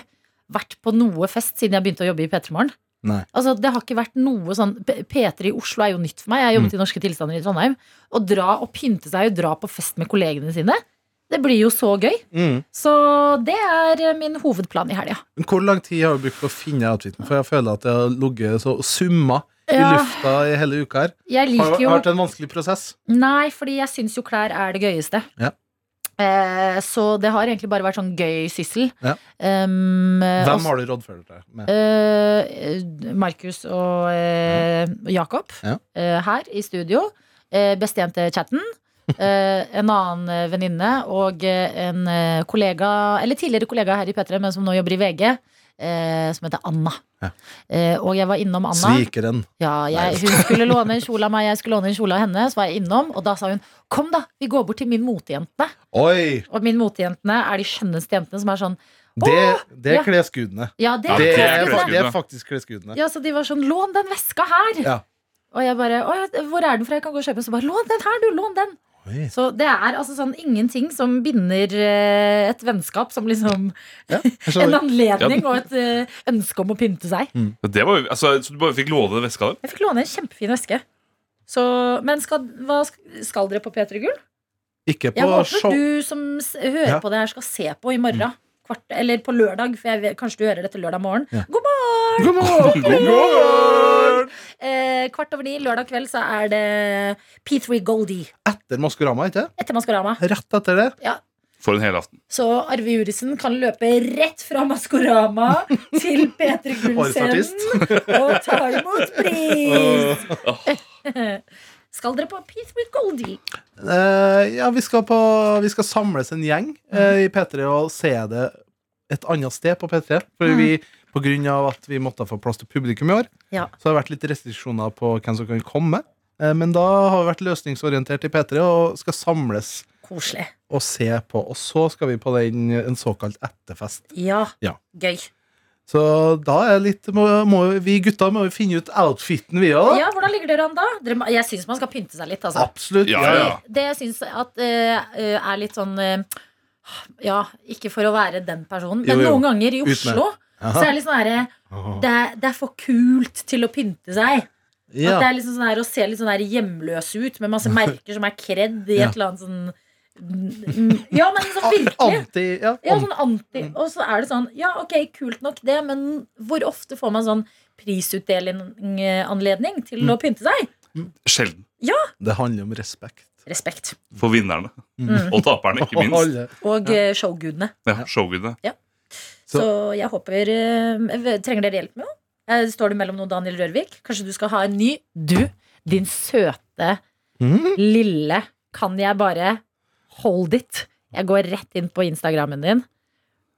[SPEAKER 2] vært på noe fest siden jeg begynte å jobbe i P3 Morgen.
[SPEAKER 3] Nei.
[SPEAKER 2] Altså, det har ikke vært noe sånn P- P3 i Oslo er jo nytt for meg. Jeg har jobbet i Norske Tilstander i Trondheim. Å dra og pynte seg og dra på fest med kollegene sine, det blir jo så gøy.
[SPEAKER 3] Mm.
[SPEAKER 2] Så det er eh, min hovedplan i helga.
[SPEAKER 3] Men Hvor lang tid har du brukt på å finne outfiten? For jeg føler at jeg har ligget så summa i
[SPEAKER 2] Ja.
[SPEAKER 3] lufta i hele uka her.
[SPEAKER 2] Jeg
[SPEAKER 3] Har
[SPEAKER 2] liker
[SPEAKER 3] det
[SPEAKER 2] jo
[SPEAKER 3] vært en vanskelig prosess?
[SPEAKER 2] Nei, fordi jeg syns jo klær er det gøyeste.
[SPEAKER 3] Ja.
[SPEAKER 2] Eh, Eh, så det har egentlig bare vært sånn gøy syssel.
[SPEAKER 3] Ja.
[SPEAKER 2] Um, eh,
[SPEAKER 3] Hvem har du rådført deg med?
[SPEAKER 2] Eh, Markus og eh, Jakob
[SPEAKER 3] Ja.
[SPEAKER 2] eh, her i studio. Eh, Bestjente
[SPEAKER 3] [laughs]
[SPEAKER 2] chatten. Eh, en annen eh, venninne og eh, en eh, kollega, eller tidligere kollega her i P3, men som nå jobber i VG, eh, som heter Anna.
[SPEAKER 3] Ja.
[SPEAKER 2] Eh, og jeg var innom Anna.
[SPEAKER 3] Svikeren.
[SPEAKER 2] Ja, jeg, hun skulle låne en kjole av meg, jeg skulle låne en kjole av henne. Så var jeg innom, og da sa hun 'Kom, da, vi går bort til min motejente'.
[SPEAKER 3] Oi!
[SPEAKER 2] Og min motejentene er de skjønneste jentene som er sånn
[SPEAKER 3] Det, det
[SPEAKER 2] ja.
[SPEAKER 3] er klesgudene.
[SPEAKER 2] Ja, det
[SPEAKER 4] Ja,
[SPEAKER 2] er
[SPEAKER 3] Det er,
[SPEAKER 2] klesgudene».
[SPEAKER 4] klesgudene.
[SPEAKER 3] det er faktisk klesgudene.
[SPEAKER 2] Ja, så de var sånn, lån den veska her
[SPEAKER 3] Ja.
[SPEAKER 2] Og jeg bare, «Å, ja, hvor er den fra? Jeg kan gå og kjøpe den Så bare, lån den her du, lån den
[SPEAKER 3] Oi.
[SPEAKER 2] Så det er altså sånn ingenting som binder eh, et vennskap Som liksom
[SPEAKER 3] Jeg
[SPEAKER 2] en
[SPEAKER 3] skjønner.
[SPEAKER 2] anledning og et eh, ønske om å pynte seg
[SPEAKER 4] Det var jo, altså, så du bare fikk låne den veska der?
[SPEAKER 2] Jeg fikk låne en kjempefin veske så, men skal, hva, sk- skal dere på P3 Gull?
[SPEAKER 3] Ikke
[SPEAKER 2] Jeg
[SPEAKER 3] på
[SPEAKER 2] håper
[SPEAKER 3] show.
[SPEAKER 2] du som s- hører
[SPEAKER 3] Ja. Mm.
[SPEAKER 2] på det her skal se på i morgen kvart, Eller på lørdag, for jeg, vet- kanskje du hører dette lørdag morgen
[SPEAKER 3] Ja.
[SPEAKER 2] God morgen!
[SPEAKER 3] God morgen! God morgen!
[SPEAKER 2] Eh, kvart over ni lørdag kveld så er det P3 Goldie
[SPEAKER 3] Etter Maskorama, ikke
[SPEAKER 2] etter Maskorama.
[SPEAKER 3] Rett etter det.
[SPEAKER 4] For en helaften.
[SPEAKER 2] Så Arve Jurisen kan løpe rett fra Maskorama til P3 Gullscenen og ta imot pris! Skal dere på P3 Goldie?
[SPEAKER 3] Eh, ja, vi skal, på, vi skal samles en gjeng
[SPEAKER 2] Mm.
[SPEAKER 3] eh, i P3 og se det et annet sted på P3.
[SPEAKER 2] Mm.
[SPEAKER 3] For vi, på grunn av at vi måtte få plass til publikum i år,
[SPEAKER 2] Ja.
[SPEAKER 3] så har det vært litt restriksjoner på hvem som kan komme. Eh, men da har vi vært løsningsorientert i P3 og skal samles
[SPEAKER 2] Koselig.
[SPEAKER 3] og se på. Og så skal vi på den, en såkalt etterfest.
[SPEAKER 2] Ja.
[SPEAKER 3] Ja.
[SPEAKER 2] Gøy.
[SPEAKER 3] Så da er litt, må, må, vi gutta må jo finne ut outfiten, vi òg.
[SPEAKER 2] Ja, Hvordan ligger dere an da? Dere, må- jeg syns man skal pynte seg litt. altså
[SPEAKER 3] Absolutt.
[SPEAKER 4] Ja,
[SPEAKER 2] Fordi
[SPEAKER 4] ja, ja.
[SPEAKER 2] Det jeg syns at, eh, er litt sånn eh, Ja, ikke for å være den personen, men
[SPEAKER 3] Jo, jo.
[SPEAKER 2] noen ganger i
[SPEAKER 3] med-
[SPEAKER 2] Oslo så er det litt sånn herre det, er- det er for kult til å pynte seg.
[SPEAKER 3] Ja.
[SPEAKER 2] At det er liksom sånn her, Å se litt sånn her hjemløs ut med
[SPEAKER 3] [laughs]
[SPEAKER 2] masse merker som er kredd i
[SPEAKER 3] Ja.
[SPEAKER 2] et eller annet sånn mm, Ja, men sånn virkelig.
[SPEAKER 3] Anti, ja,
[SPEAKER 2] Ja,
[SPEAKER 3] anti.
[SPEAKER 2] sånn anti.
[SPEAKER 3] Mm.
[SPEAKER 2] Og så er det sånn Ja, ok, kult nok det, men hvor ofte får man sånn prisutdelinganledning til
[SPEAKER 3] Mm.
[SPEAKER 2] å pynte seg?
[SPEAKER 4] Sjelden.
[SPEAKER 3] Det handler om respekt.
[SPEAKER 2] Respekt.
[SPEAKER 4] For vinnerne.
[SPEAKER 2] Mm.
[SPEAKER 4] Og
[SPEAKER 3] [laughs]
[SPEAKER 4] taperne, ikke
[SPEAKER 3] Og
[SPEAKER 4] minst.
[SPEAKER 3] alle-
[SPEAKER 2] Og eh, showgudene.
[SPEAKER 4] Ja, Showgudene.
[SPEAKER 2] Så,
[SPEAKER 3] Så-
[SPEAKER 2] jeg håper eh, v- Trenger dere hjelp med noe? Eh, Står du mellom noe, Daniel Rørvik? Kanskje du skal ha en ny? Du, din søte,
[SPEAKER 3] Mhm.
[SPEAKER 2] lille Kan jeg bare hold it? Jeg går rett inn på Instagrammen din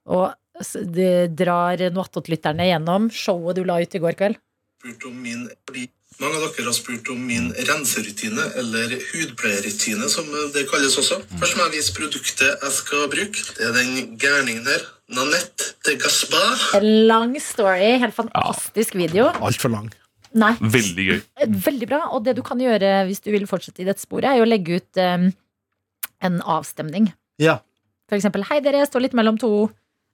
[SPEAKER 2] og s- d- drar noe attåtlytterne gjennom showet du la ut i går kveld.
[SPEAKER 6] spurt om min fordi mange av dere har spurt om min renserutine, eller hudpleierrutine, som det kalles også. Først må jeg vise produktet jeg skal bruke. Det er den gærningen her. Nanette de Gaspar.
[SPEAKER 2] En lang story, helt fantastisk video.
[SPEAKER 3] Altfor lang.
[SPEAKER 2] Nei, eh,
[SPEAKER 4] Veldig gøy.
[SPEAKER 2] Veldig bra. Og det du kan gjøre hvis du vil fortsette i dette sporet, er jo å legge ut eh, en avstemning.
[SPEAKER 3] Ja.
[SPEAKER 2] For eksempel, hei dere, jeg står litt mellom to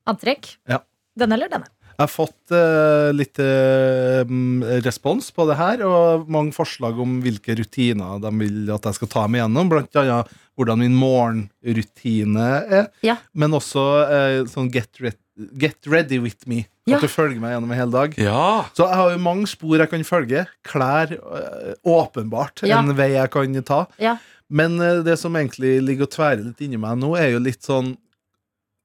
[SPEAKER 2] antrekk.
[SPEAKER 3] Ja.
[SPEAKER 2] Denne eller denne.
[SPEAKER 3] Jeg har fått eh, litt eh, mm, respons på det her, og mange forslag om hvilke rutiner de vil at jeg skal ta meg gjennom. Blant annet hvordan min morgenrutine er,
[SPEAKER 2] Ja.
[SPEAKER 3] men også eh, sånn get, re get ready with me.
[SPEAKER 2] Ja.
[SPEAKER 3] At du følger meg gjennom en hel dag.
[SPEAKER 4] Ja!
[SPEAKER 3] Så jeg har jo mange spor jeg kan følge. Klær, øh, åpenbart,
[SPEAKER 2] Ja.
[SPEAKER 3] en vei jeg kan ta.
[SPEAKER 2] Ja.
[SPEAKER 3] Men øh, det som egentlig ligger og tværer litt inni meg nå, er jo litt sånn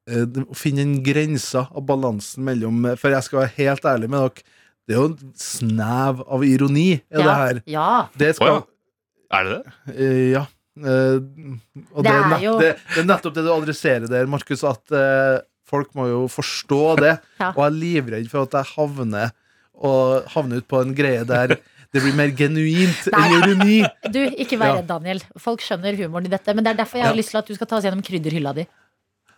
[SPEAKER 3] øh, det- Å finne en grense av balansen mellom eh, For jeg skal være helt ærlig med dere, det er jo en snev av ironi i
[SPEAKER 2] ja.
[SPEAKER 3] det her.
[SPEAKER 2] Ja.
[SPEAKER 3] Det
[SPEAKER 4] Å ja.
[SPEAKER 3] skal
[SPEAKER 4] Er det det?
[SPEAKER 3] øh, Ja. øh,
[SPEAKER 2] Det
[SPEAKER 3] og det, er
[SPEAKER 2] er
[SPEAKER 3] nett,
[SPEAKER 2] jo-
[SPEAKER 3] det, det er nettopp det du adresserer der, Markus, at øh, folk må jo forstå det.
[SPEAKER 2] [laughs] Ja.
[SPEAKER 3] Og jeg er livredd for at jeg havner Og havner ut på en greie der det blir mer genuint enn
[SPEAKER 2] Nei.
[SPEAKER 3] ironi.
[SPEAKER 2] Du, ikke vær
[SPEAKER 3] Ja.
[SPEAKER 2] redd, Daniel. Folk skjønner humoren i dette. Men det er derfor jeg har
[SPEAKER 3] Ja.
[SPEAKER 2] lyst til at du skal ta oss gjennom krydderhylla di.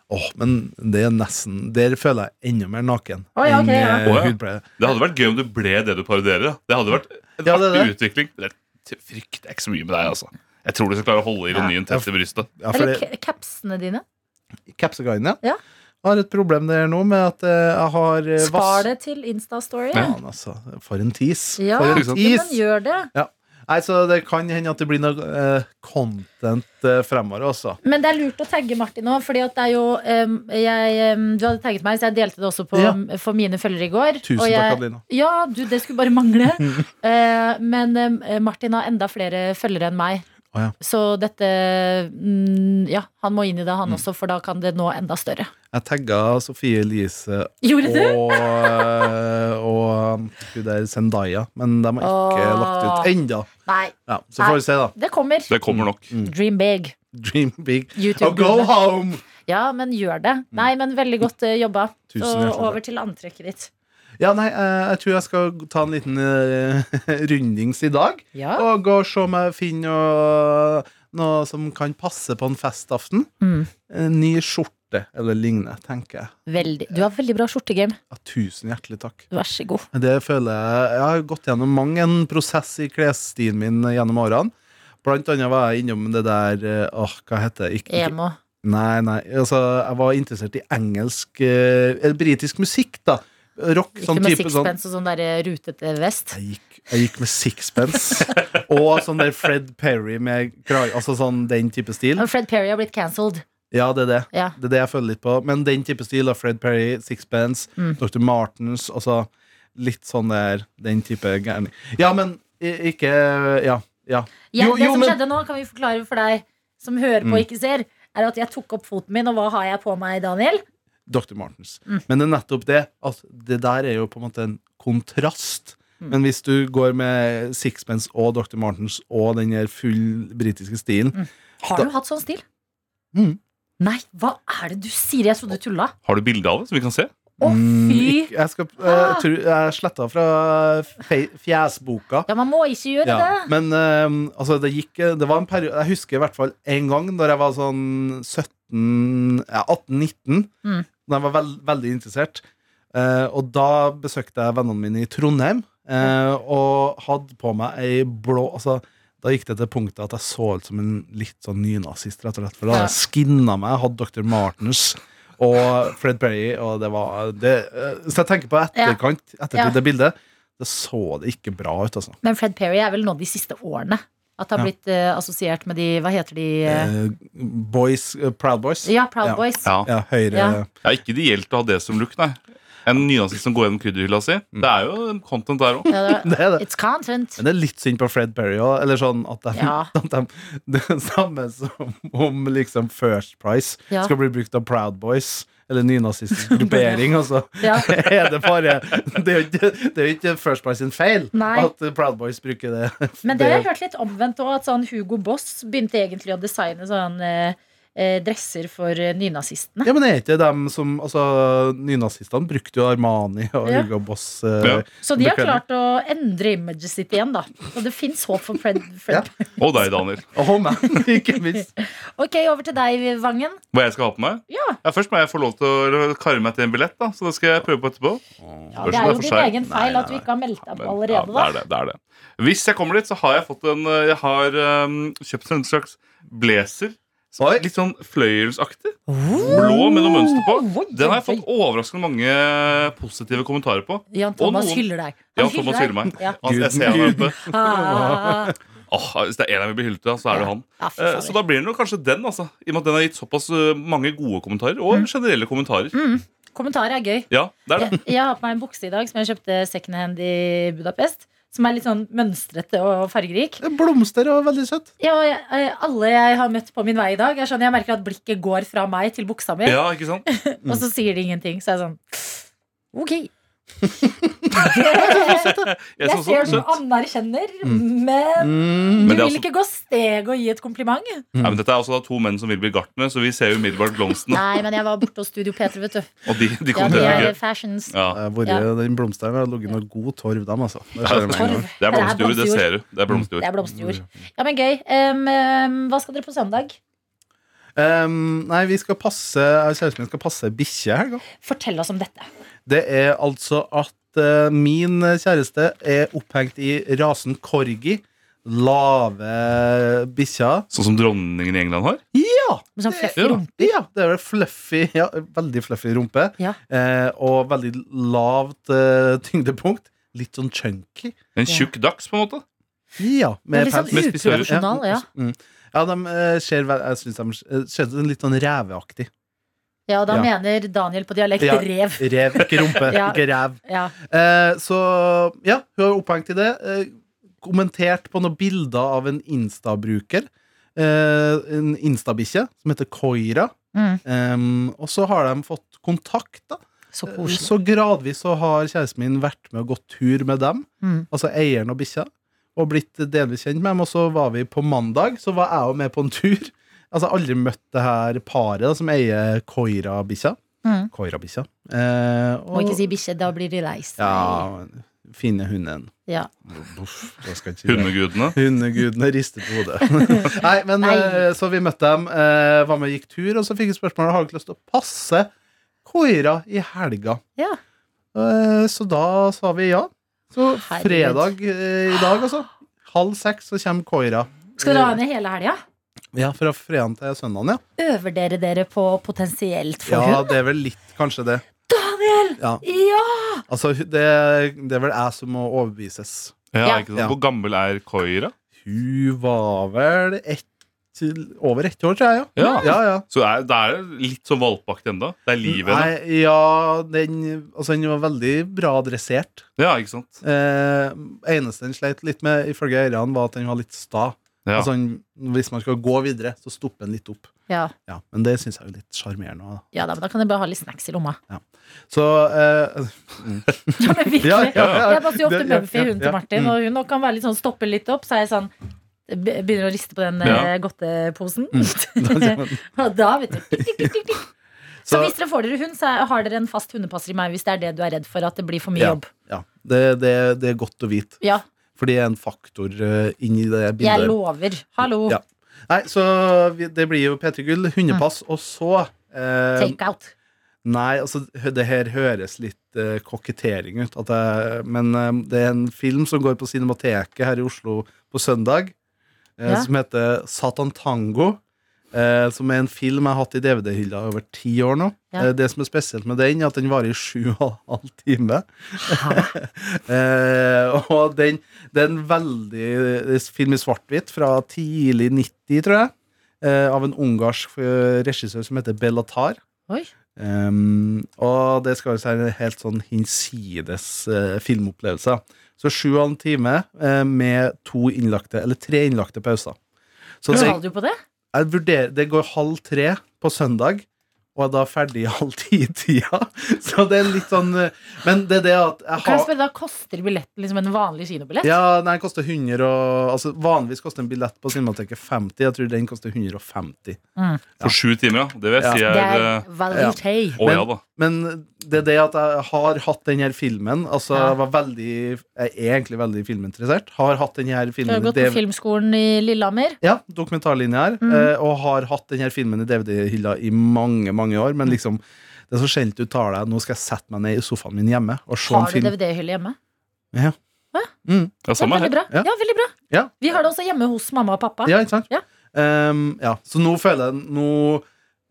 [SPEAKER 3] Åh, men det er nesten Der føler jeg enda mer naken
[SPEAKER 2] Å, ja, ok,
[SPEAKER 3] enn
[SPEAKER 2] ja.
[SPEAKER 3] eh,
[SPEAKER 4] Å, ja.
[SPEAKER 3] hudpleie.
[SPEAKER 4] Det hadde vært gøy om du ble det du parodierer. da. Det hadde vært en
[SPEAKER 3] Ja, det er
[SPEAKER 4] artig utvikling. Det er frykter ikke så mye med deg, altså. Jeg tror du skal klare å holde ironien tett til brystet.
[SPEAKER 3] Ja, for
[SPEAKER 2] Eller
[SPEAKER 3] det,
[SPEAKER 2] ca- capsene dine.
[SPEAKER 3] Capsicine,
[SPEAKER 2] Ja.
[SPEAKER 3] Jeg har et problem der nå med at eh, jeg har eh,
[SPEAKER 2] Spar
[SPEAKER 3] vass-
[SPEAKER 2] det til Insta-story. Ja.
[SPEAKER 3] Faen, altså. For en tis.
[SPEAKER 2] Ja,
[SPEAKER 3] For en
[SPEAKER 2] men
[SPEAKER 3] tis.
[SPEAKER 2] gjør det.
[SPEAKER 3] Nei, så det kan hende at det blir noe eh, content eh, fremover også.
[SPEAKER 2] Men det er lurt å tagge Martin òg, fordi at det er jo em, jeg, em, Du hadde tagget meg, så jeg delte det også på,
[SPEAKER 3] Ja.
[SPEAKER 2] for mine følgere i går.
[SPEAKER 3] Tusen
[SPEAKER 2] og jeg,
[SPEAKER 3] takk, Adelina. [laughs]
[SPEAKER 2] Ja, du, det skulle bare mangle. Eh, men eh, Martin har enda flere følgere enn meg.
[SPEAKER 3] Å, ja.
[SPEAKER 2] Så dette mm, Ja, han må inn i det, han også, for da kan det nå enda større.
[SPEAKER 3] Jeg tagga Sofie Elise
[SPEAKER 2] Gjorde du?
[SPEAKER 3] og, eh, og um, hun der Zendaya, men de har ikke
[SPEAKER 2] Åh.
[SPEAKER 3] lagt ut ennå.
[SPEAKER 2] Nei,
[SPEAKER 3] Ja, så får vi se, da.
[SPEAKER 2] det kommer.
[SPEAKER 4] Det kommer nok.
[SPEAKER 3] Mm.
[SPEAKER 2] Dream big.
[SPEAKER 3] Dream big.
[SPEAKER 2] YouTube.
[SPEAKER 3] Og go home!
[SPEAKER 2] Ja, men gjør det. Nei, men veldig godt eh, jobba.
[SPEAKER 3] Mm. Tusen
[SPEAKER 2] Så
[SPEAKER 3] hjertelig takk.
[SPEAKER 2] over til antrekket ditt.
[SPEAKER 3] Ja, nei, eh, jeg tror jeg skal ta en liten eh, [laughs] rundings i dag.
[SPEAKER 2] Ja.
[SPEAKER 3] Og gå og se om jeg finner noe, noe som kan passe på en festaften.
[SPEAKER 2] Mm.
[SPEAKER 3] En ny skjorte eller lignende, tenker jeg.
[SPEAKER 2] Veldig. Du har veldig bra skjortegame.
[SPEAKER 3] Ja, tusen hjertelig takk.
[SPEAKER 2] Vær så god.
[SPEAKER 3] Det føler jeg Jeg har gått gjennom mange en prosess i klesstilen min gjennom årene. Blant annet var jeg innom det der eh, Åh, hva heter det? Ikke- ikke-
[SPEAKER 2] Emo.
[SPEAKER 3] Nei, nei. Altså, jeg var interessert i engelsk eh, Eller britisk musikk, da. Rock.
[SPEAKER 2] Ikke
[SPEAKER 3] sånn
[SPEAKER 2] med
[SPEAKER 3] type sånn
[SPEAKER 2] sixpence og sånn der eh, rutete vest.
[SPEAKER 3] jeg gikk, jeg gikk med sixpence og sånn der Fred Perry med krage Altså sånn den type stil.
[SPEAKER 2] Men Fred Perry har blitt cancelled.
[SPEAKER 3] Ja, det er det.
[SPEAKER 2] Ja.
[SPEAKER 3] Det er det jeg føler litt på. Men den type stil av Fred Perry, sixpence,
[SPEAKER 2] Mm.
[SPEAKER 3] Dr. Martens, altså litt sånn der Den type gærning. Ja, men i- ikke Ja. ja.
[SPEAKER 2] Ja,
[SPEAKER 3] Jo,
[SPEAKER 2] det
[SPEAKER 3] jo,
[SPEAKER 2] som
[SPEAKER 3] men- Mm.
[SPEAKER 2] skjedde nå, kan vi forklare for deg som hører på og ikke ser, er at jeg tok opp foten min, og hva har jeg på meg, Daniel?
[SPEAKER 3] Dr. Martens.
[SPEAKER 2] Mm.
[SPEAKER 3] Men det er nettopp det at det der er jo på en måte en kontrast.
[SPEAKER 2] Mm.
[SPEAKER 3] Men hvis du går med sixpence og Dr. Martens og den her full britiske stilen
[SPEAKER 2] Har
[SPEAKER 3] Da-
[SPEAKER 2] du hatt sånn stil?
[SPEAKER 3] Mm.
[SPEAKER 2] Nei, hva er det du sier? Jeg trodde du tulla.
[SPEAKER 4] Har du bilde av det, som vi kan se?
[SPEAKER 2] Å,
[SPEAKER 3] Mm,
[SPEAKER 2] fy!
[SPEAKER 3] ikke- Jeg, skal- jeg, tror- jeg sletta fra fe- fjesboka.
[SPEAKER 2] Ja, man må ikke gjøre
[SPEAKER 3] Ja,
[SPEAKER 2] det.
[SPEAKER 3] men eh, altså, det gikk eh, Det var en periode Jeg husker i hvert fall en gang da jeg var sånn 17 ja, 18-19,
[SPEAKER 2] Mm.
[SPEAKER 3] da jeg var vel- veldig interessert. Eh, og da besøkte jeg vennene mine i Trondheim eh, og hadde på meg ei blå altså, Da gikk det til punktet at jeg så ut som en litt sånn nynazist, rett og slett. For da hadde jeg skinna meg, hadde Dr. Martens og Fred Perry, og det var det, eh, Så jeg tenker på etterkant, ettertid
[SPEAKER 2] Ja.
[SPEAKER 3] det bildet. Det så det ikke bra ut, altså.
[SPEAKER 2] Men Fred Perry er vel nå de siste årene at det har
[SPEAKER 3] Ja.
[SPEAKER 2] blitt eh, assosiert med de Hva heter de? eh,
[SPEAKER 3] Eh, boys, eh, Proud Boys.
[SPEAKER 2] ja, Proud
[SPEAKER 3] ja.
[SPEAKER 2] Boys.
[SPEAKER 4] Ja.
[SPEAKER 3] Ja, høyre
[SPEAKER 2] Ja.
[SPEAKER 4] Det er ikke ideelt å ha det som look, nei. En nynazist som går gjennom krydderhylla si. Det er jo en content der òg.
[SPEAKER 2] Ja, det-
[SPEAKER 3] Det er det.
[SPEAKER 2] It's content.
[SPEAKER 3] Men det er litt synd på Fred Berry òg. Eller sånn at de,
[SPEAKER 2] Ja.
[SPEAKER 3] [laughs] at de Det er samme som om liksom First Price
[SPEAKER 2] Ja.
[SPEAKER 3] skal bli brukt av Proud Boys. Eller nynazistisk gruppering, altså.
[SPEAKER 2] Ja.
[SPEAKER 3] [laughs] Er det bare Det er jo ikke, det er jo ikke First Price sin feil
[SPEAKER 2] Nei.
[SPEAKER 3] at Proud Boys bruker [laughs] det.
[SPEAKER 2] Men det har jeg hørt litt omvendt òg, at sånn Hugo Boss begynte egentlig å designe sånn eh, eh, dresser for eh, nynazistene.
[SPEAKER 3] Ja, men er ikke dem som Altså, nynazistene brukte jo Armani og
[SPEAKER 2] Ja.
[SPEAKER 3] Hugo Boss. eh,
[SPEAKER 4] Ja.
[SPEAKER 2] Så de har
[SPEAKER 3] Bekvemme.
[SPEAKER 2] klart å endre imaget sitt igjen, da. Og det fins håp for Fred.
[SPEAKER 3] Ja.
[SPEAKER 2] Fred.
[SPEAKER 4] Og deg, Daniel.
[SPEAKER 3] Og Homan, [laughs] ikke minst.
[SPEAKER 2] Ok, over til deg, Vangen.
[SPEAKER 4] Hva jeg skal ha på meg?
[SPEAKER 2] Ja.
[SPEAKER 4] Først må jeg få lov til å eller, karre meg til en billett, da. Så det skal jeg prøve på etterpå.
[SPEAKER 2] Ja,
[SPEAKER 4] Spørsmålet
[SPEAKER 2] det er
[SPEAKER 4] er
[SPEAKER 2] jo
[SPEAKER 4] for
[SPEAKER 2] din
[SPEAKER 4] seg.
[SPEAKER 2] egen feil at du ikke har meldt deg
[SPEAKER 4] Men,
[SPEAKER 2] på
[SPEAKER 4] ja,
[SPEAKER 2] allerede,
[SPEAKER 4] det er
[SPEAKER 2] da.
[SPEAKER 4] det, det er det. Hvis jeg kommer dit, så har jeg fått en eh, Jeg har eh, kjøpt en slags blazer. som er
[SPEAKER 3] Oi.
[SPEAKER 4] Litt sånn fløyelsaktig. Blå med noe mønster på.
[SPEAKER 2] Oi,
[SPEAKER 4] Den har jeg
[SPEAKER 2] oi,
[SPEAKER 4] fått overraskende mange positive kommentarer på.
[SPEAKER 2] Jan Thomas
[SPEAKER 4] Og noen-
[SPEAKER 2] hyller deg.
[SPEAKER 4] Ja, Thomas hyller meg.
[SPEAKER 2] Ja.
[SPEAKER 4] Altså, jeg ser han oppe.
[SPEAKER 2] Ah,
[SPEAKER 4] Åh, hvis det er en jeg vil bli hyllet av, så er det han.
[SPEAKER 2] ja, fy
[SPEAKER 4] Eh, Så
[SPEAKER 2] fader.
[SPEAKER 4] da blir det nok kanskje den, altså. I og med at den har gitt såpass eh, mange gode kommentarer, og
[SPEAKER 2] Mm.
[SPEAKER 4] generelle kommentarer.
[SPEAKER 2] Kommentarer Mm. er gøy.
[SPEAKER 4] Ja, det er det.
[SPEAKER 2] Jeg, jeg har på meg en bukse i dag som jeg kjøpte secondhand i Budapest. Som er litt sånn mønstrete og fargerik.
[SPEAKER 3] Blomster og veldig søtt.
[SPEAKER 2] Ja, og jeg, eh, alle jeg har møtt på min vei i dag, sånn, jeg, skjønner, jeg merker at blikket går fra meg til buksa mi,
[SPEAKER 4] Ja, ikke sant?
[SPEAKER 2] og så sier de ingenting. Så jeg er sånn Ok.
[SPEAKER 4] [laughs] Jeg
[SPEAKER 2] Jeg
[SPEAKER 4] synes
[SPEAKER 2] ser
[SPEAKER 4] også
[SPEAKER 2] du anerkjenner,
[SPEAKER 4] Mm.
[SPEAKER 2] men du
[SPEAKER 3] Mm.
[SPEAKER 4] Men det er
[SPEAKER 2] vil
[SPEAKER 4] altså-
[SPEAKER 2] ikke gå steg og gi et kompliment.
[SPEAKER 4] Nei, men Dette er også da to menn som vil bli gartnere, så vi ser jo umiddelbart blomstene.
[SPEAKER 2] Nei, men jeg var borte hos Studio Peter, vet du.
[SPEAKER 4] Og de, de
[SPEAKER 2] Ja, de
[SPEAKER 4] kommenterer
[SPEAKER 2] er
[SPEAKER 4] ikke.
[SPEAKER 2] fashions.
[SPEAKER 4] Ja.
[SPEAKER 3] Jeg har vært-
[SPEAKER 2] Ja.
[SPEAKER 3] Den blomsteren har ligget noe god torv, dem, altså. Det
[SPEAKER 4] Det
[SPEAKER 3] ser jeg med en
[SPEAKER 2] Torv.
[SPEAKER 3] gang.
[SPEAKER 4] er blomsterjord, det ser du. Det er
[SPEAKER 2] Det
[SPEAKER 4] blomsterjord.
[SPEAKER 2] er blomsterjord. Ja, men gøy. Em, em, hva skal dere på søndag?
[SPEAKER 3] Ehm, nei, vi skal passe jeg og Kjæresten min skal passe bikkje i helga.
[SPEAKER 2] Fortell oss om dette.
[SPEAKER 3] Det er altså at eh, min kjæreste er opphengt i rasen corgi. Lave bikkjer.
[SPEAKER 4] Sånn som dronningen i England har.
[SPEAKER 2] Med sånn fluffy
[SPEAKER 4] Ja.
[SPEAKER 2] rumpe.
[SPEAKER 3] Eh, Ja, det er vel fluffy, ja, veldig fluffy rumpe.
[SPEAKER 2] Ja.
[SPEAKER 3] Eh, og veldig lavt eh, tyngdepunkt. Litt sånn chunky.
[SPEAKER 4] En tjukk dags, på en måte.
[SPEAKER 3] Ja,
[SPEAKER 2] Men
[SPEAKER 3] med
[SPEAKER 2] litt sånn
[SPEAKER 3] pels.
[SPEAKER 4] Med spissører.
[SPEAKER 2] utradisjonal, ja.
[SPEAKER 3] Mm. Ja, de eh, ser vel- Jeg synes de eh, ser ut som litt sånn reveaktig.
[SPEAKER 2] Ja, da
[SPEAKER 3] Ja.
[SPEAKER 2] mener Daniel på dialekt
[SPEAKER 3] Ja.
[SPEAKER 2] rev. [laughs]
[SPEAKER 3] Rev, ikke rumpe,
[SPEAKER 2] Ja.
[SPEAKER 3] ikke rev.
[SPEAKER 2] Ja.
[SPEAKER 3] Eh, så ja, hun er opphengt i det. Eh, kommentert på noen bilder av en Insta-bruker. Eh, en Insta-bikkje som heter Koira.
[SPEAKER 2] Mm.
[SPEAKER 3] Em, og så har de fått kontakt. da
[SPEAKER 2] Så
[SPEAKER 3] Eh,
[SPEAKER 2] koselig.
[SPEAKER 3] Så gradvis så har kjæresten min vært med og gått tur med dem,
[SPEAKER 2] Mm.
[SPEAKER 3] altså eieren og bikkja, og blitt delvis kjent med dem. Og så var vi på mandag, så var jeg jo med på en tur. Altså jeg har aldri møtt det her paret da, som eier Koira-bikkja.
[SPEAKER 2] Mm.
[SPEAKER 3] Koira-bikkja. Eh,
[SPEAKER 2] Må ikke si bikkje, da blir de lei seg.
[SPEAKER 3] Ja, fine hunden.
[SPEAKER 2] Ja.
[SPEAKER 3] Uff, jeg skal ikke si det.
[SPEAKER 4] Hundegudene.
[SPEAKER 3] Hundegudene rister på
[SPEAKER 2] [laughs]
[SPEAKER 3] hodet. Nei, men
[SPEAKER 2] Nei.
[SPEAKER 3] eh, Så vi møtte dem, eh, var med og gikk tur, og så fikk vi spørsmål om har dere lyst til å passe koira i helga.
[SPEAKER 2] Ja.
[SPEAKER 3] Eh, Så da sa vi ja. Så
[SPEAKER 2] Herregud.
[SPEAKER 3] fredag eh, i dag, altså. Halv seks så kommer koira.
[SPEAKER 2] Skal
[SPEAKER 3] Eh.
[SPEAKER 2] dere ha henne hele helga?
[SPEAKER 3] Ja, Fra fredagen til søndagen, ja.
[SPEAKER 2] Øver dere dere på potensielt for
[SPEAKER 3] Ja,
[SPEAKER 2] hund?
[SPEAKER 3] det er vel litt, kanskje det.
[SPEAKER 2] Daniel!
[SPEAKER 3] Ja.
[SPEAKER 2] Ja!
[SPEAKER 3] Altså, det, det er vel jeg som må overbevises.
[SPEAKER 4] Ja,
[SPEAKER 2] Ja.
[SPEAKER 4] ikke sant?
[SPEAKER 3] Ja.
[SPEAKER 4] Hvor gammel er Koira?
[SPEAKER 3] Hun var vel ett over ett år, tror jeg, ja.
[SPEAKER 4] Ja.
[SPEAKER 3] ja, ja.
[SPEAKER 4] Så er, det er litt sånn valpaktig ennå. Det er livet hennes.
[SPEAKER 3] Nei, ja, den, altså, den var veldig bra dressert.
[SPEAKER 4] Ja, ikke sant?
[SPEAKER 3] Eh, eneste den sleit litt med, ifølge eierne, var at den var litt sta.
[SPEAKER 4] Ja.
[SPEAKER 3] Altså, den, hvis man skal gå videre, så stopper den litt opp.
[SPEAKER 2] Ja.
[SPEAKER 3] Ja, men det syns jeg er litt sjarmerende. også,
[SPEAKER 2] ja da, men da kan dere bare ha litt snacks i lomma.
[SPEAKER 3] da. Så eh,
[SPEAKER 2] Ja, men virkelig.
[SPEAKER 3] Ja, ja, ja.
[SPEAKER 2] Jeg passer jo ofte
[SPEAKER 3] Det- ja,
[SPEAKER 2] Mumphy,
[SPEAKER 3] ja,
[SPEAKER 2] hunden
[SPEAKER 3] ja.
[SPEAKER 2] til Martin,
[SPEAKER 3] Mm.
[SPEAKER 2] og hun kan være litt sånn stoppe litt opp. Så er jeg sånn be- Begynner å riste på den
[SPEAKER 4] Ja.
[SPEAKER 2] eh, godteposen. [laughs]
[SPEAKER 3] da-
[SPEAKER 2] Og da, vet du tikk, tikk, tikk, tikk, tikk. Så
[SPEAKER 3] Så-
[SPEAKER 2] hvis dere får dere hund, så har dere en fast hundepasser i meg hvis det er det du er redd for at det blir for mye
[SPEAKER 3] Ja.
[SPEAKER 2] jobb.
[SPEAKER 3] ja, det, det, det er godt å vite,
[SPEAKER 2] Ja,
[SPEAKER 3] for det er en faktor eh, inni det
[SPEAKER 2] jeg
[SPEAKER 3] bildet.
[SPEAKER 2] lover. Hallo.
[SPEAKER 3] Ja. Nei, så vi, det blir jo P3 Gull, hundepass, og så eh,
[SPEAKER 2] Take out.
[SPEAKER 3] Nei, altså, hø- det her høres litt eh, kokettering ut. At jeg, men eh, det er en film som går på Cinemateket her i Oslo på søndag, eh,
[SPEAKER 2] Ja.
[SPEAKER 3] som heter Satan Tango. eh, som er en film jeg har hatt i DVD-hylla over ti år nå.
[SPEAKER 2] Ja.
[SPEAKER 3] Eh, det som er spesielt med den, er at den varer i sju og en halv time.
[SPEAKER 2] Hæ?
[SPEAKER 3] [laughs] Eh, og den, det er en veldig det er en film i svart-hvitt fra tidlig 90, tror jeg. eh, av en ungarsk eh, regissør som heter Bellatar.
[SPEAKER 2] Oi.
[SPEAKER 3] Um, og det skal jo være en helt sånn hinsides eh, filmopplevelse. Så sju og en time eh, med to innlagte, eller tre innlagte pauser. Så det,
[SPEAKER 2] Skal du på det?
[SPEAKER 3] jeg vurderer, det går halv tre på søndag, og er da ferdig i halv ti-tida. [laughs] Så det er litt sånn eh, Men det er det at jeg
[SPEAKER 2] Kan jeg
[SPEAKER 3] har
[SPEAKER 2] spørre, da koster billetten liksom en vanlig kinobillett?
[SPEAKER 3] ja, nei, den koster 100 og, altså, Vanligvis koster en billett på Cinemateket 50. Jeg tror den koster 150.
[SPEAKER 4] For sju timer, ja. Det vil jeg
[SPEAKER 3] Ja.
[SPEAKER 4] si
[SPEAKER 2] Det
[SPEAKER 4] er
[SPEAKER 2] er
[SPEAKER 4] eh,
[SPEAKER 2] valuté.
[SPEAKER 4] Å
[SPEAKER 3] Men-
[SPEAKER 4] ja, da.
[SPEAKER 3] Men det er det at jeg har hatt den her filmen Altså,
[SPEAKER 2] Ja.
[SPEAKER 3] jeg var veldig Jeg er egentlig veldig filminteressert. Har hatt den her
[SPEAKER 2] Du har
[SPEAKER 3] filmen i
[SPEAKER 2] gått på
[SPEAKER 3] DV
[SPEAKER 2] filmskolen i Lillehammer.
[SPEAKER 3] Ja, dokumentarlinja her.
[SPEAKER 2] Mhm.
[SPEAKER 3] eh, Og har hatt den her filmen i DVD-hylla i mange, mange år.
[SPEAKER 2] Mhm.
[SPEAKER 3] Men liksom det er så sjelden du tar deg Nå skal jeg sette meg ned i sofaen min hjemme og se en
[SPEAKER 2] Har du
[SPEAKER 3] Sånn film. Mm.
[SPEAKER 2] DVD-hylle hjemme?
[SPEAKER 4] Ja,
[SPEAKER 2] Ja,
[SPEAKER 4] samme
[SPEAKER 2] veldig
[SPEAKER 4] her.
[SPEAKER 2] bra.
[SPEAKER 3] Ja.
[SPEAKER 2] Ja, veldig bra.
[SPEAKER 3] Ja.
[SPEAKER 2] Vi har det også hjemme hos mamma og pappa.
[SPEAKER 3] Ja, ikke sant?
[SPEAKER 2] Ja.
[SPEAKER 3] Ehm, ja. Så nå føler jeg nå,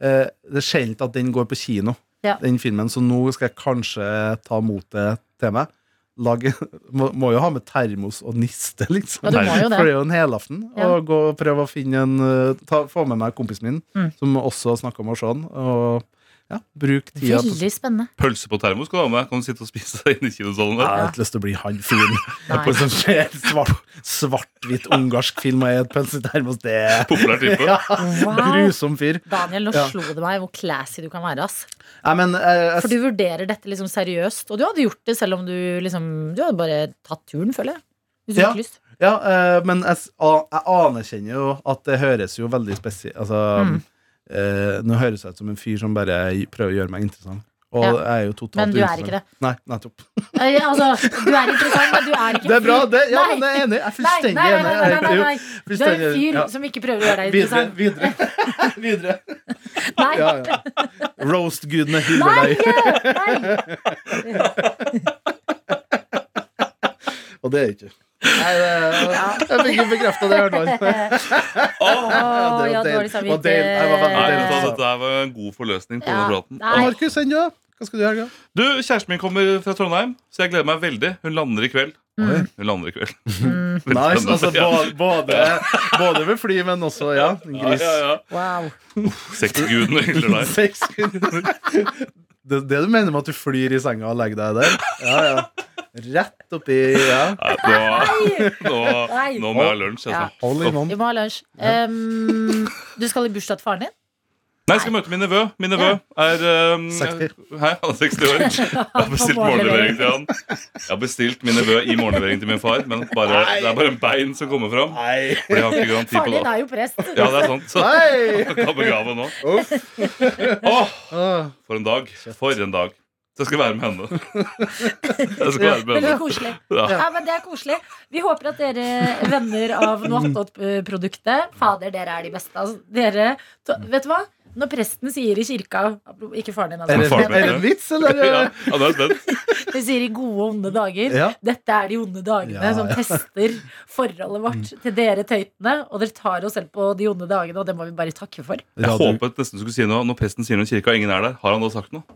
[SPEAKER 3] eh, Det er sjelden at den går på kino,
[SPEAKER 2] Ja.
[SPEAKER 3] den filmen, så nå skal jeg kanskje ta motet til meg. Lage, [laughs] må, må jo ha med termos og niste, liksom.
[SPEAKER 2] Ja, du må jo det.
[SPEAKER 3] For det er jo en helaften.
[SPEAKER 2] Ja.
[SPEAKER 3] Og gå og prøve å finne en eh, ta, Få med meg kompisen min,
[SPEAKER 2] Mm.
[SPEAKER 3] som også snakker om å se den. Og ja, bruke tida på
[SPEAKER 2] Veldig spennende.
[SPEAKER 4] Pølse på termos skal du ha med. Kan du sitte og spise [laughs] deg inn i
[SPEAKER 3] Jeg
[SPEAKER 4] kinosalen der?
[SPEAKER 3] har ikke lyst til å bli han
[SPEAKER 2] [laughs]
[SPEAKER 3] fyren
[SPEAKER 2] Nei.
[SPEAKER 3] som ser sånn svart- svart-hvitt ungarsk film og er et pølsetermos. Det er
[SPEAKER 4] Populær type.
[SPEAKER 3] ja, [laughs]
[SPEAKER 2] Wow.
[SPEAKER 3] grusom fyr.
[SPEAKER 2] Daniel, nå
[SPEAKER 3] Ja.
[SPEAKER 2] slo det meg hvor classy du kan være. ass
[SPEAKER 3] Nei, men eh, jeg
[SPEAKER 2] For du vurderer dette liksom seriøst, og du hadde gjort det selv om du liksom Du hadde bare tatt turen, føler jeg. Hvis du
[SPEAKER 3] Ja.
[SPEAKER 2] fikk lyst.
[SPEAKER 3] Ja, eh, men jeg, s- a- jeg anerkjenner jo at det høres jo veldig spesielt Altså,
[SPEAKER 2] Mm.
[SPEAKER 3] eh, nå høres jeg ut som en fyr som bare prøver å gjøre meg interessant. Og
[SPEAKER 2] Ja.
[SPEAKER 3] jeg er jo totalt
[SPEAKER 2] Men du er ikke
[SPEAKER 3] uinteressant.
[SPEAKER 2] det.
[SPEAKER 3] Nei, nettopp.
[SPEAKER 2] Eh, Altså, du er interessant, men du er ikke
[SPEAKER 3] Det er bra, det. Ja,
[SPEAKER 2] Nei.
[SPEAKER 3] men jeg er enig.
[SPEAKER 2] Nei,
[SPEAKER 3] Jeg er
[SPEAKER 2] nei,
[SPEAKER 3] fullstendig
[SPEAKER 2] nei,
[SPEAKER 3] enig.
[SPEAKER 2] nei, nei, nei,
[SPEAKER 3] Jo,
[SPEAKER 2] nei. Du er en
[SPEAKER 3] fullstendig enig.
[SPEAKER 2] fyr
[SPEAKER 3] Ja.
[SPEAKER 2] som ikke prøver å gjøre deg
[SPEAKER 3] Videre.
[SPEAKER 2] interessant.
[SPEAKER 3] Videre. [laughs] videre.
[SPEAKER 2] Nei.
[SPEAKER 3] Ja, ja. Roast-gudene hyller
[SPEAKER 2] Nei,
[SPEAKER 3] deg.
[SPEAKER 2] nei.
[SPEAKER 3] Og det er jeg ikke. Nei, det, jeg fikk jo bekrefta det, i hvert fall. [laughs]
[SPEAKER 4] Åh!
[SPEAKER 2] Å,
[SPEAKER 3] det
[SPEAKER 2] ja,
[SPEAKER 3] var deilig.
[SPEAKER 2] dårlig
[SPEAKER 3] Det var deilig. Jeg var veldig
[SPEAKER 4] Nei, vet du hva,
[SPEAKER 2] samvittighet.
[SPEAKER 3] deilig.
[SPEAKER 4] dette her var en god forløsning på
[SPEAKER 2] Ja.
[SPEAKER 4] denne praten.
[SPEAKER 2] Nei.
[SPEAKER 3] Og Markus, enn du? da? Hva skal du i helga?
[SPEAKER 4] Du, kjæresten min kommer fra Trondheim, så jeg gleder meg veldig. Hun lander i kveld.
[SPEAKER 2] Mm.
[SPEAKER 4] Hun lander i kveld.
[SPEAKER 2] Mm.
[SPEAKER 3] Nice, altså
[SPEAKER 4] Ja.
[SPEAKER 3] både, både, både ved fly, men også, ja, en
[SPEAKER 4] Ja,
[SPEAKER 3] gris.
[SPEAKER 4] ja, ja.
[SPEAKER 2] Wow.
[SPEAKER 4] Sexgudene hyller
[SPEAKER 3] [laughs]
[SPEAKER 4] deg.
[SPEAKER 3] Seks sekunder. Det, det du mener med at du flyr i senga og legger deg der? Ja, ja. Rett oppi ja.
[SPEAKER 4] Nei, Nå, nå,
[SPEAKER 2] Nei.
[SPEAKER 4] nå må jeg ha lunsj.
[SPEAKER 2] Ja.
[SPEAKER 4] Altså.
[SPEAKER 3] Hold in hånd.
[SPEAKER 2] Vi må ha lunsj. Um, du skal i bursdag til faren din?
[SPEAKER 4] Nei, jeg skal møte min nevø. Min nevø er um,
[SPEAKER 3] 60.
[SPEAKER 4] Hei, han er 60 år. Jeg har bestilt
[SPEAKER 2] På morgenlevering.
[SPEAKER 4] morgenlevering til han. Jeg har bestilt min nevø i morgenlevering til min far, men bare, det er bare en bein som kommer fram.
[SPEAKER 3] Nei.
[SPEAKER 4] For jeg har ikke garanti på
[SPEAKER 2] Faren
[SPEAKER 4] det.
[SPEAKER 2] din er jo
[SPEAKER 3] [laughs]
[SPEAKER 2] prest.
[SPEAKER 4] Ja, det er sant. Så [laughs]
[SPEAKER 3] Nei.
[SPEAKER 4] jeg kan begrave nå.
[SPEAKER 3] Uff.
[SPEAKER 4] Åh,
[SPEAKER 3] Ah,
[SPEAKER 4] for en dag. For en dag. Så jeg skal være med henne. [laughs] Jeg skal være med
[SPEAKER 2] Veldig
[SPEAKER 4] henne.
[SPEAKER 2] koselig.
[SPEAKER 4] Ja.
[SPEAKER 2] Ja, men det er koselig. Vi håper at dere venner av Noatot-produktet Fader, dere er de beste. Altså, dere, to, vet du hva? Når presten sier i kirka Ikke faren din,
[SPEAKER 3] Er det,
[SPEAKER 2] altså.
[SPEAKER 4] Faren min,
[SPEAKER 3] er det
[SPEAKER 4] ja.
[SPEAKER 3] en vits, eller?
[SPEAKER 4] Ja, ja, nå er jeg spent.
[SPEAKER 2] De sier i gode og onde dager.
[SPEAKER 3] Ja.
[SPEAKER 2] Dette er de onde dagene
[SPEAKER 3] Ja, Mm.
[SPEAKER 2] som
[SPEAKER 3] ja.
[SPEAKER 2] tester forholdet vårt til dere tøytene. Og dere tar oss selv på de onde dagene, og det må vi bare takke for.
[SPEAKER 4] Jeg
[SPEAKER 3] Radio-
[SPEAKER 4] håpet nesten du skulle si noe når presten sier noe i kirka og ingen er der. Har han da sagt noe?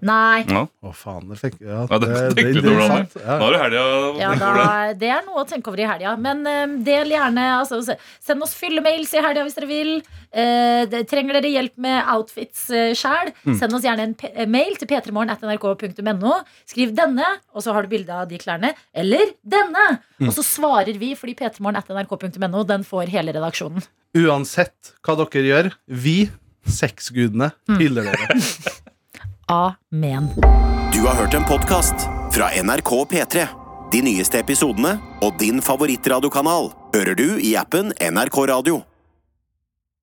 [SPEAKER 2] Nei.
[SPEAKER 4] Ja.
[SPEAKER 3] Å, faen. Det fikk ja,
[SPEAKER 4] Ja, det tenkte du
[SPEAKER 3] er
[SPEAKER 4] over
[SPEAKER 3] sant.
[SPEAKER 4] Nå
[SPEAKER 3] Ja.
[SPEAKER 4] er det helga.
[SPEAKER 2] Ja, da, det er noe å tenke over i helga. Men eh, del gjerne altså, se- Send oss fyllemails i helga hvis dere vil. Eh, det, trenger dere hjelp med outfits uh, sjæl, send oss gjerne en p eh, mail til p3morgen.nrk.no. Skriv 'denne', og så har du bilde av de klærne. Eller 'denne'. Og så svarer vi, fordi p3morgen.nrk.no den får hele redaksjonen.
[SPEAKER 3] Uansett hva dere gjør, vi, sexgudene, hyller dere.
[SPEAKER 2] Amen.
[SPEAKER 1] Du har hørt en podcast fra NRK P3. De nyeste episodene og din favorittradiokanal hører du i appen NRK Radio.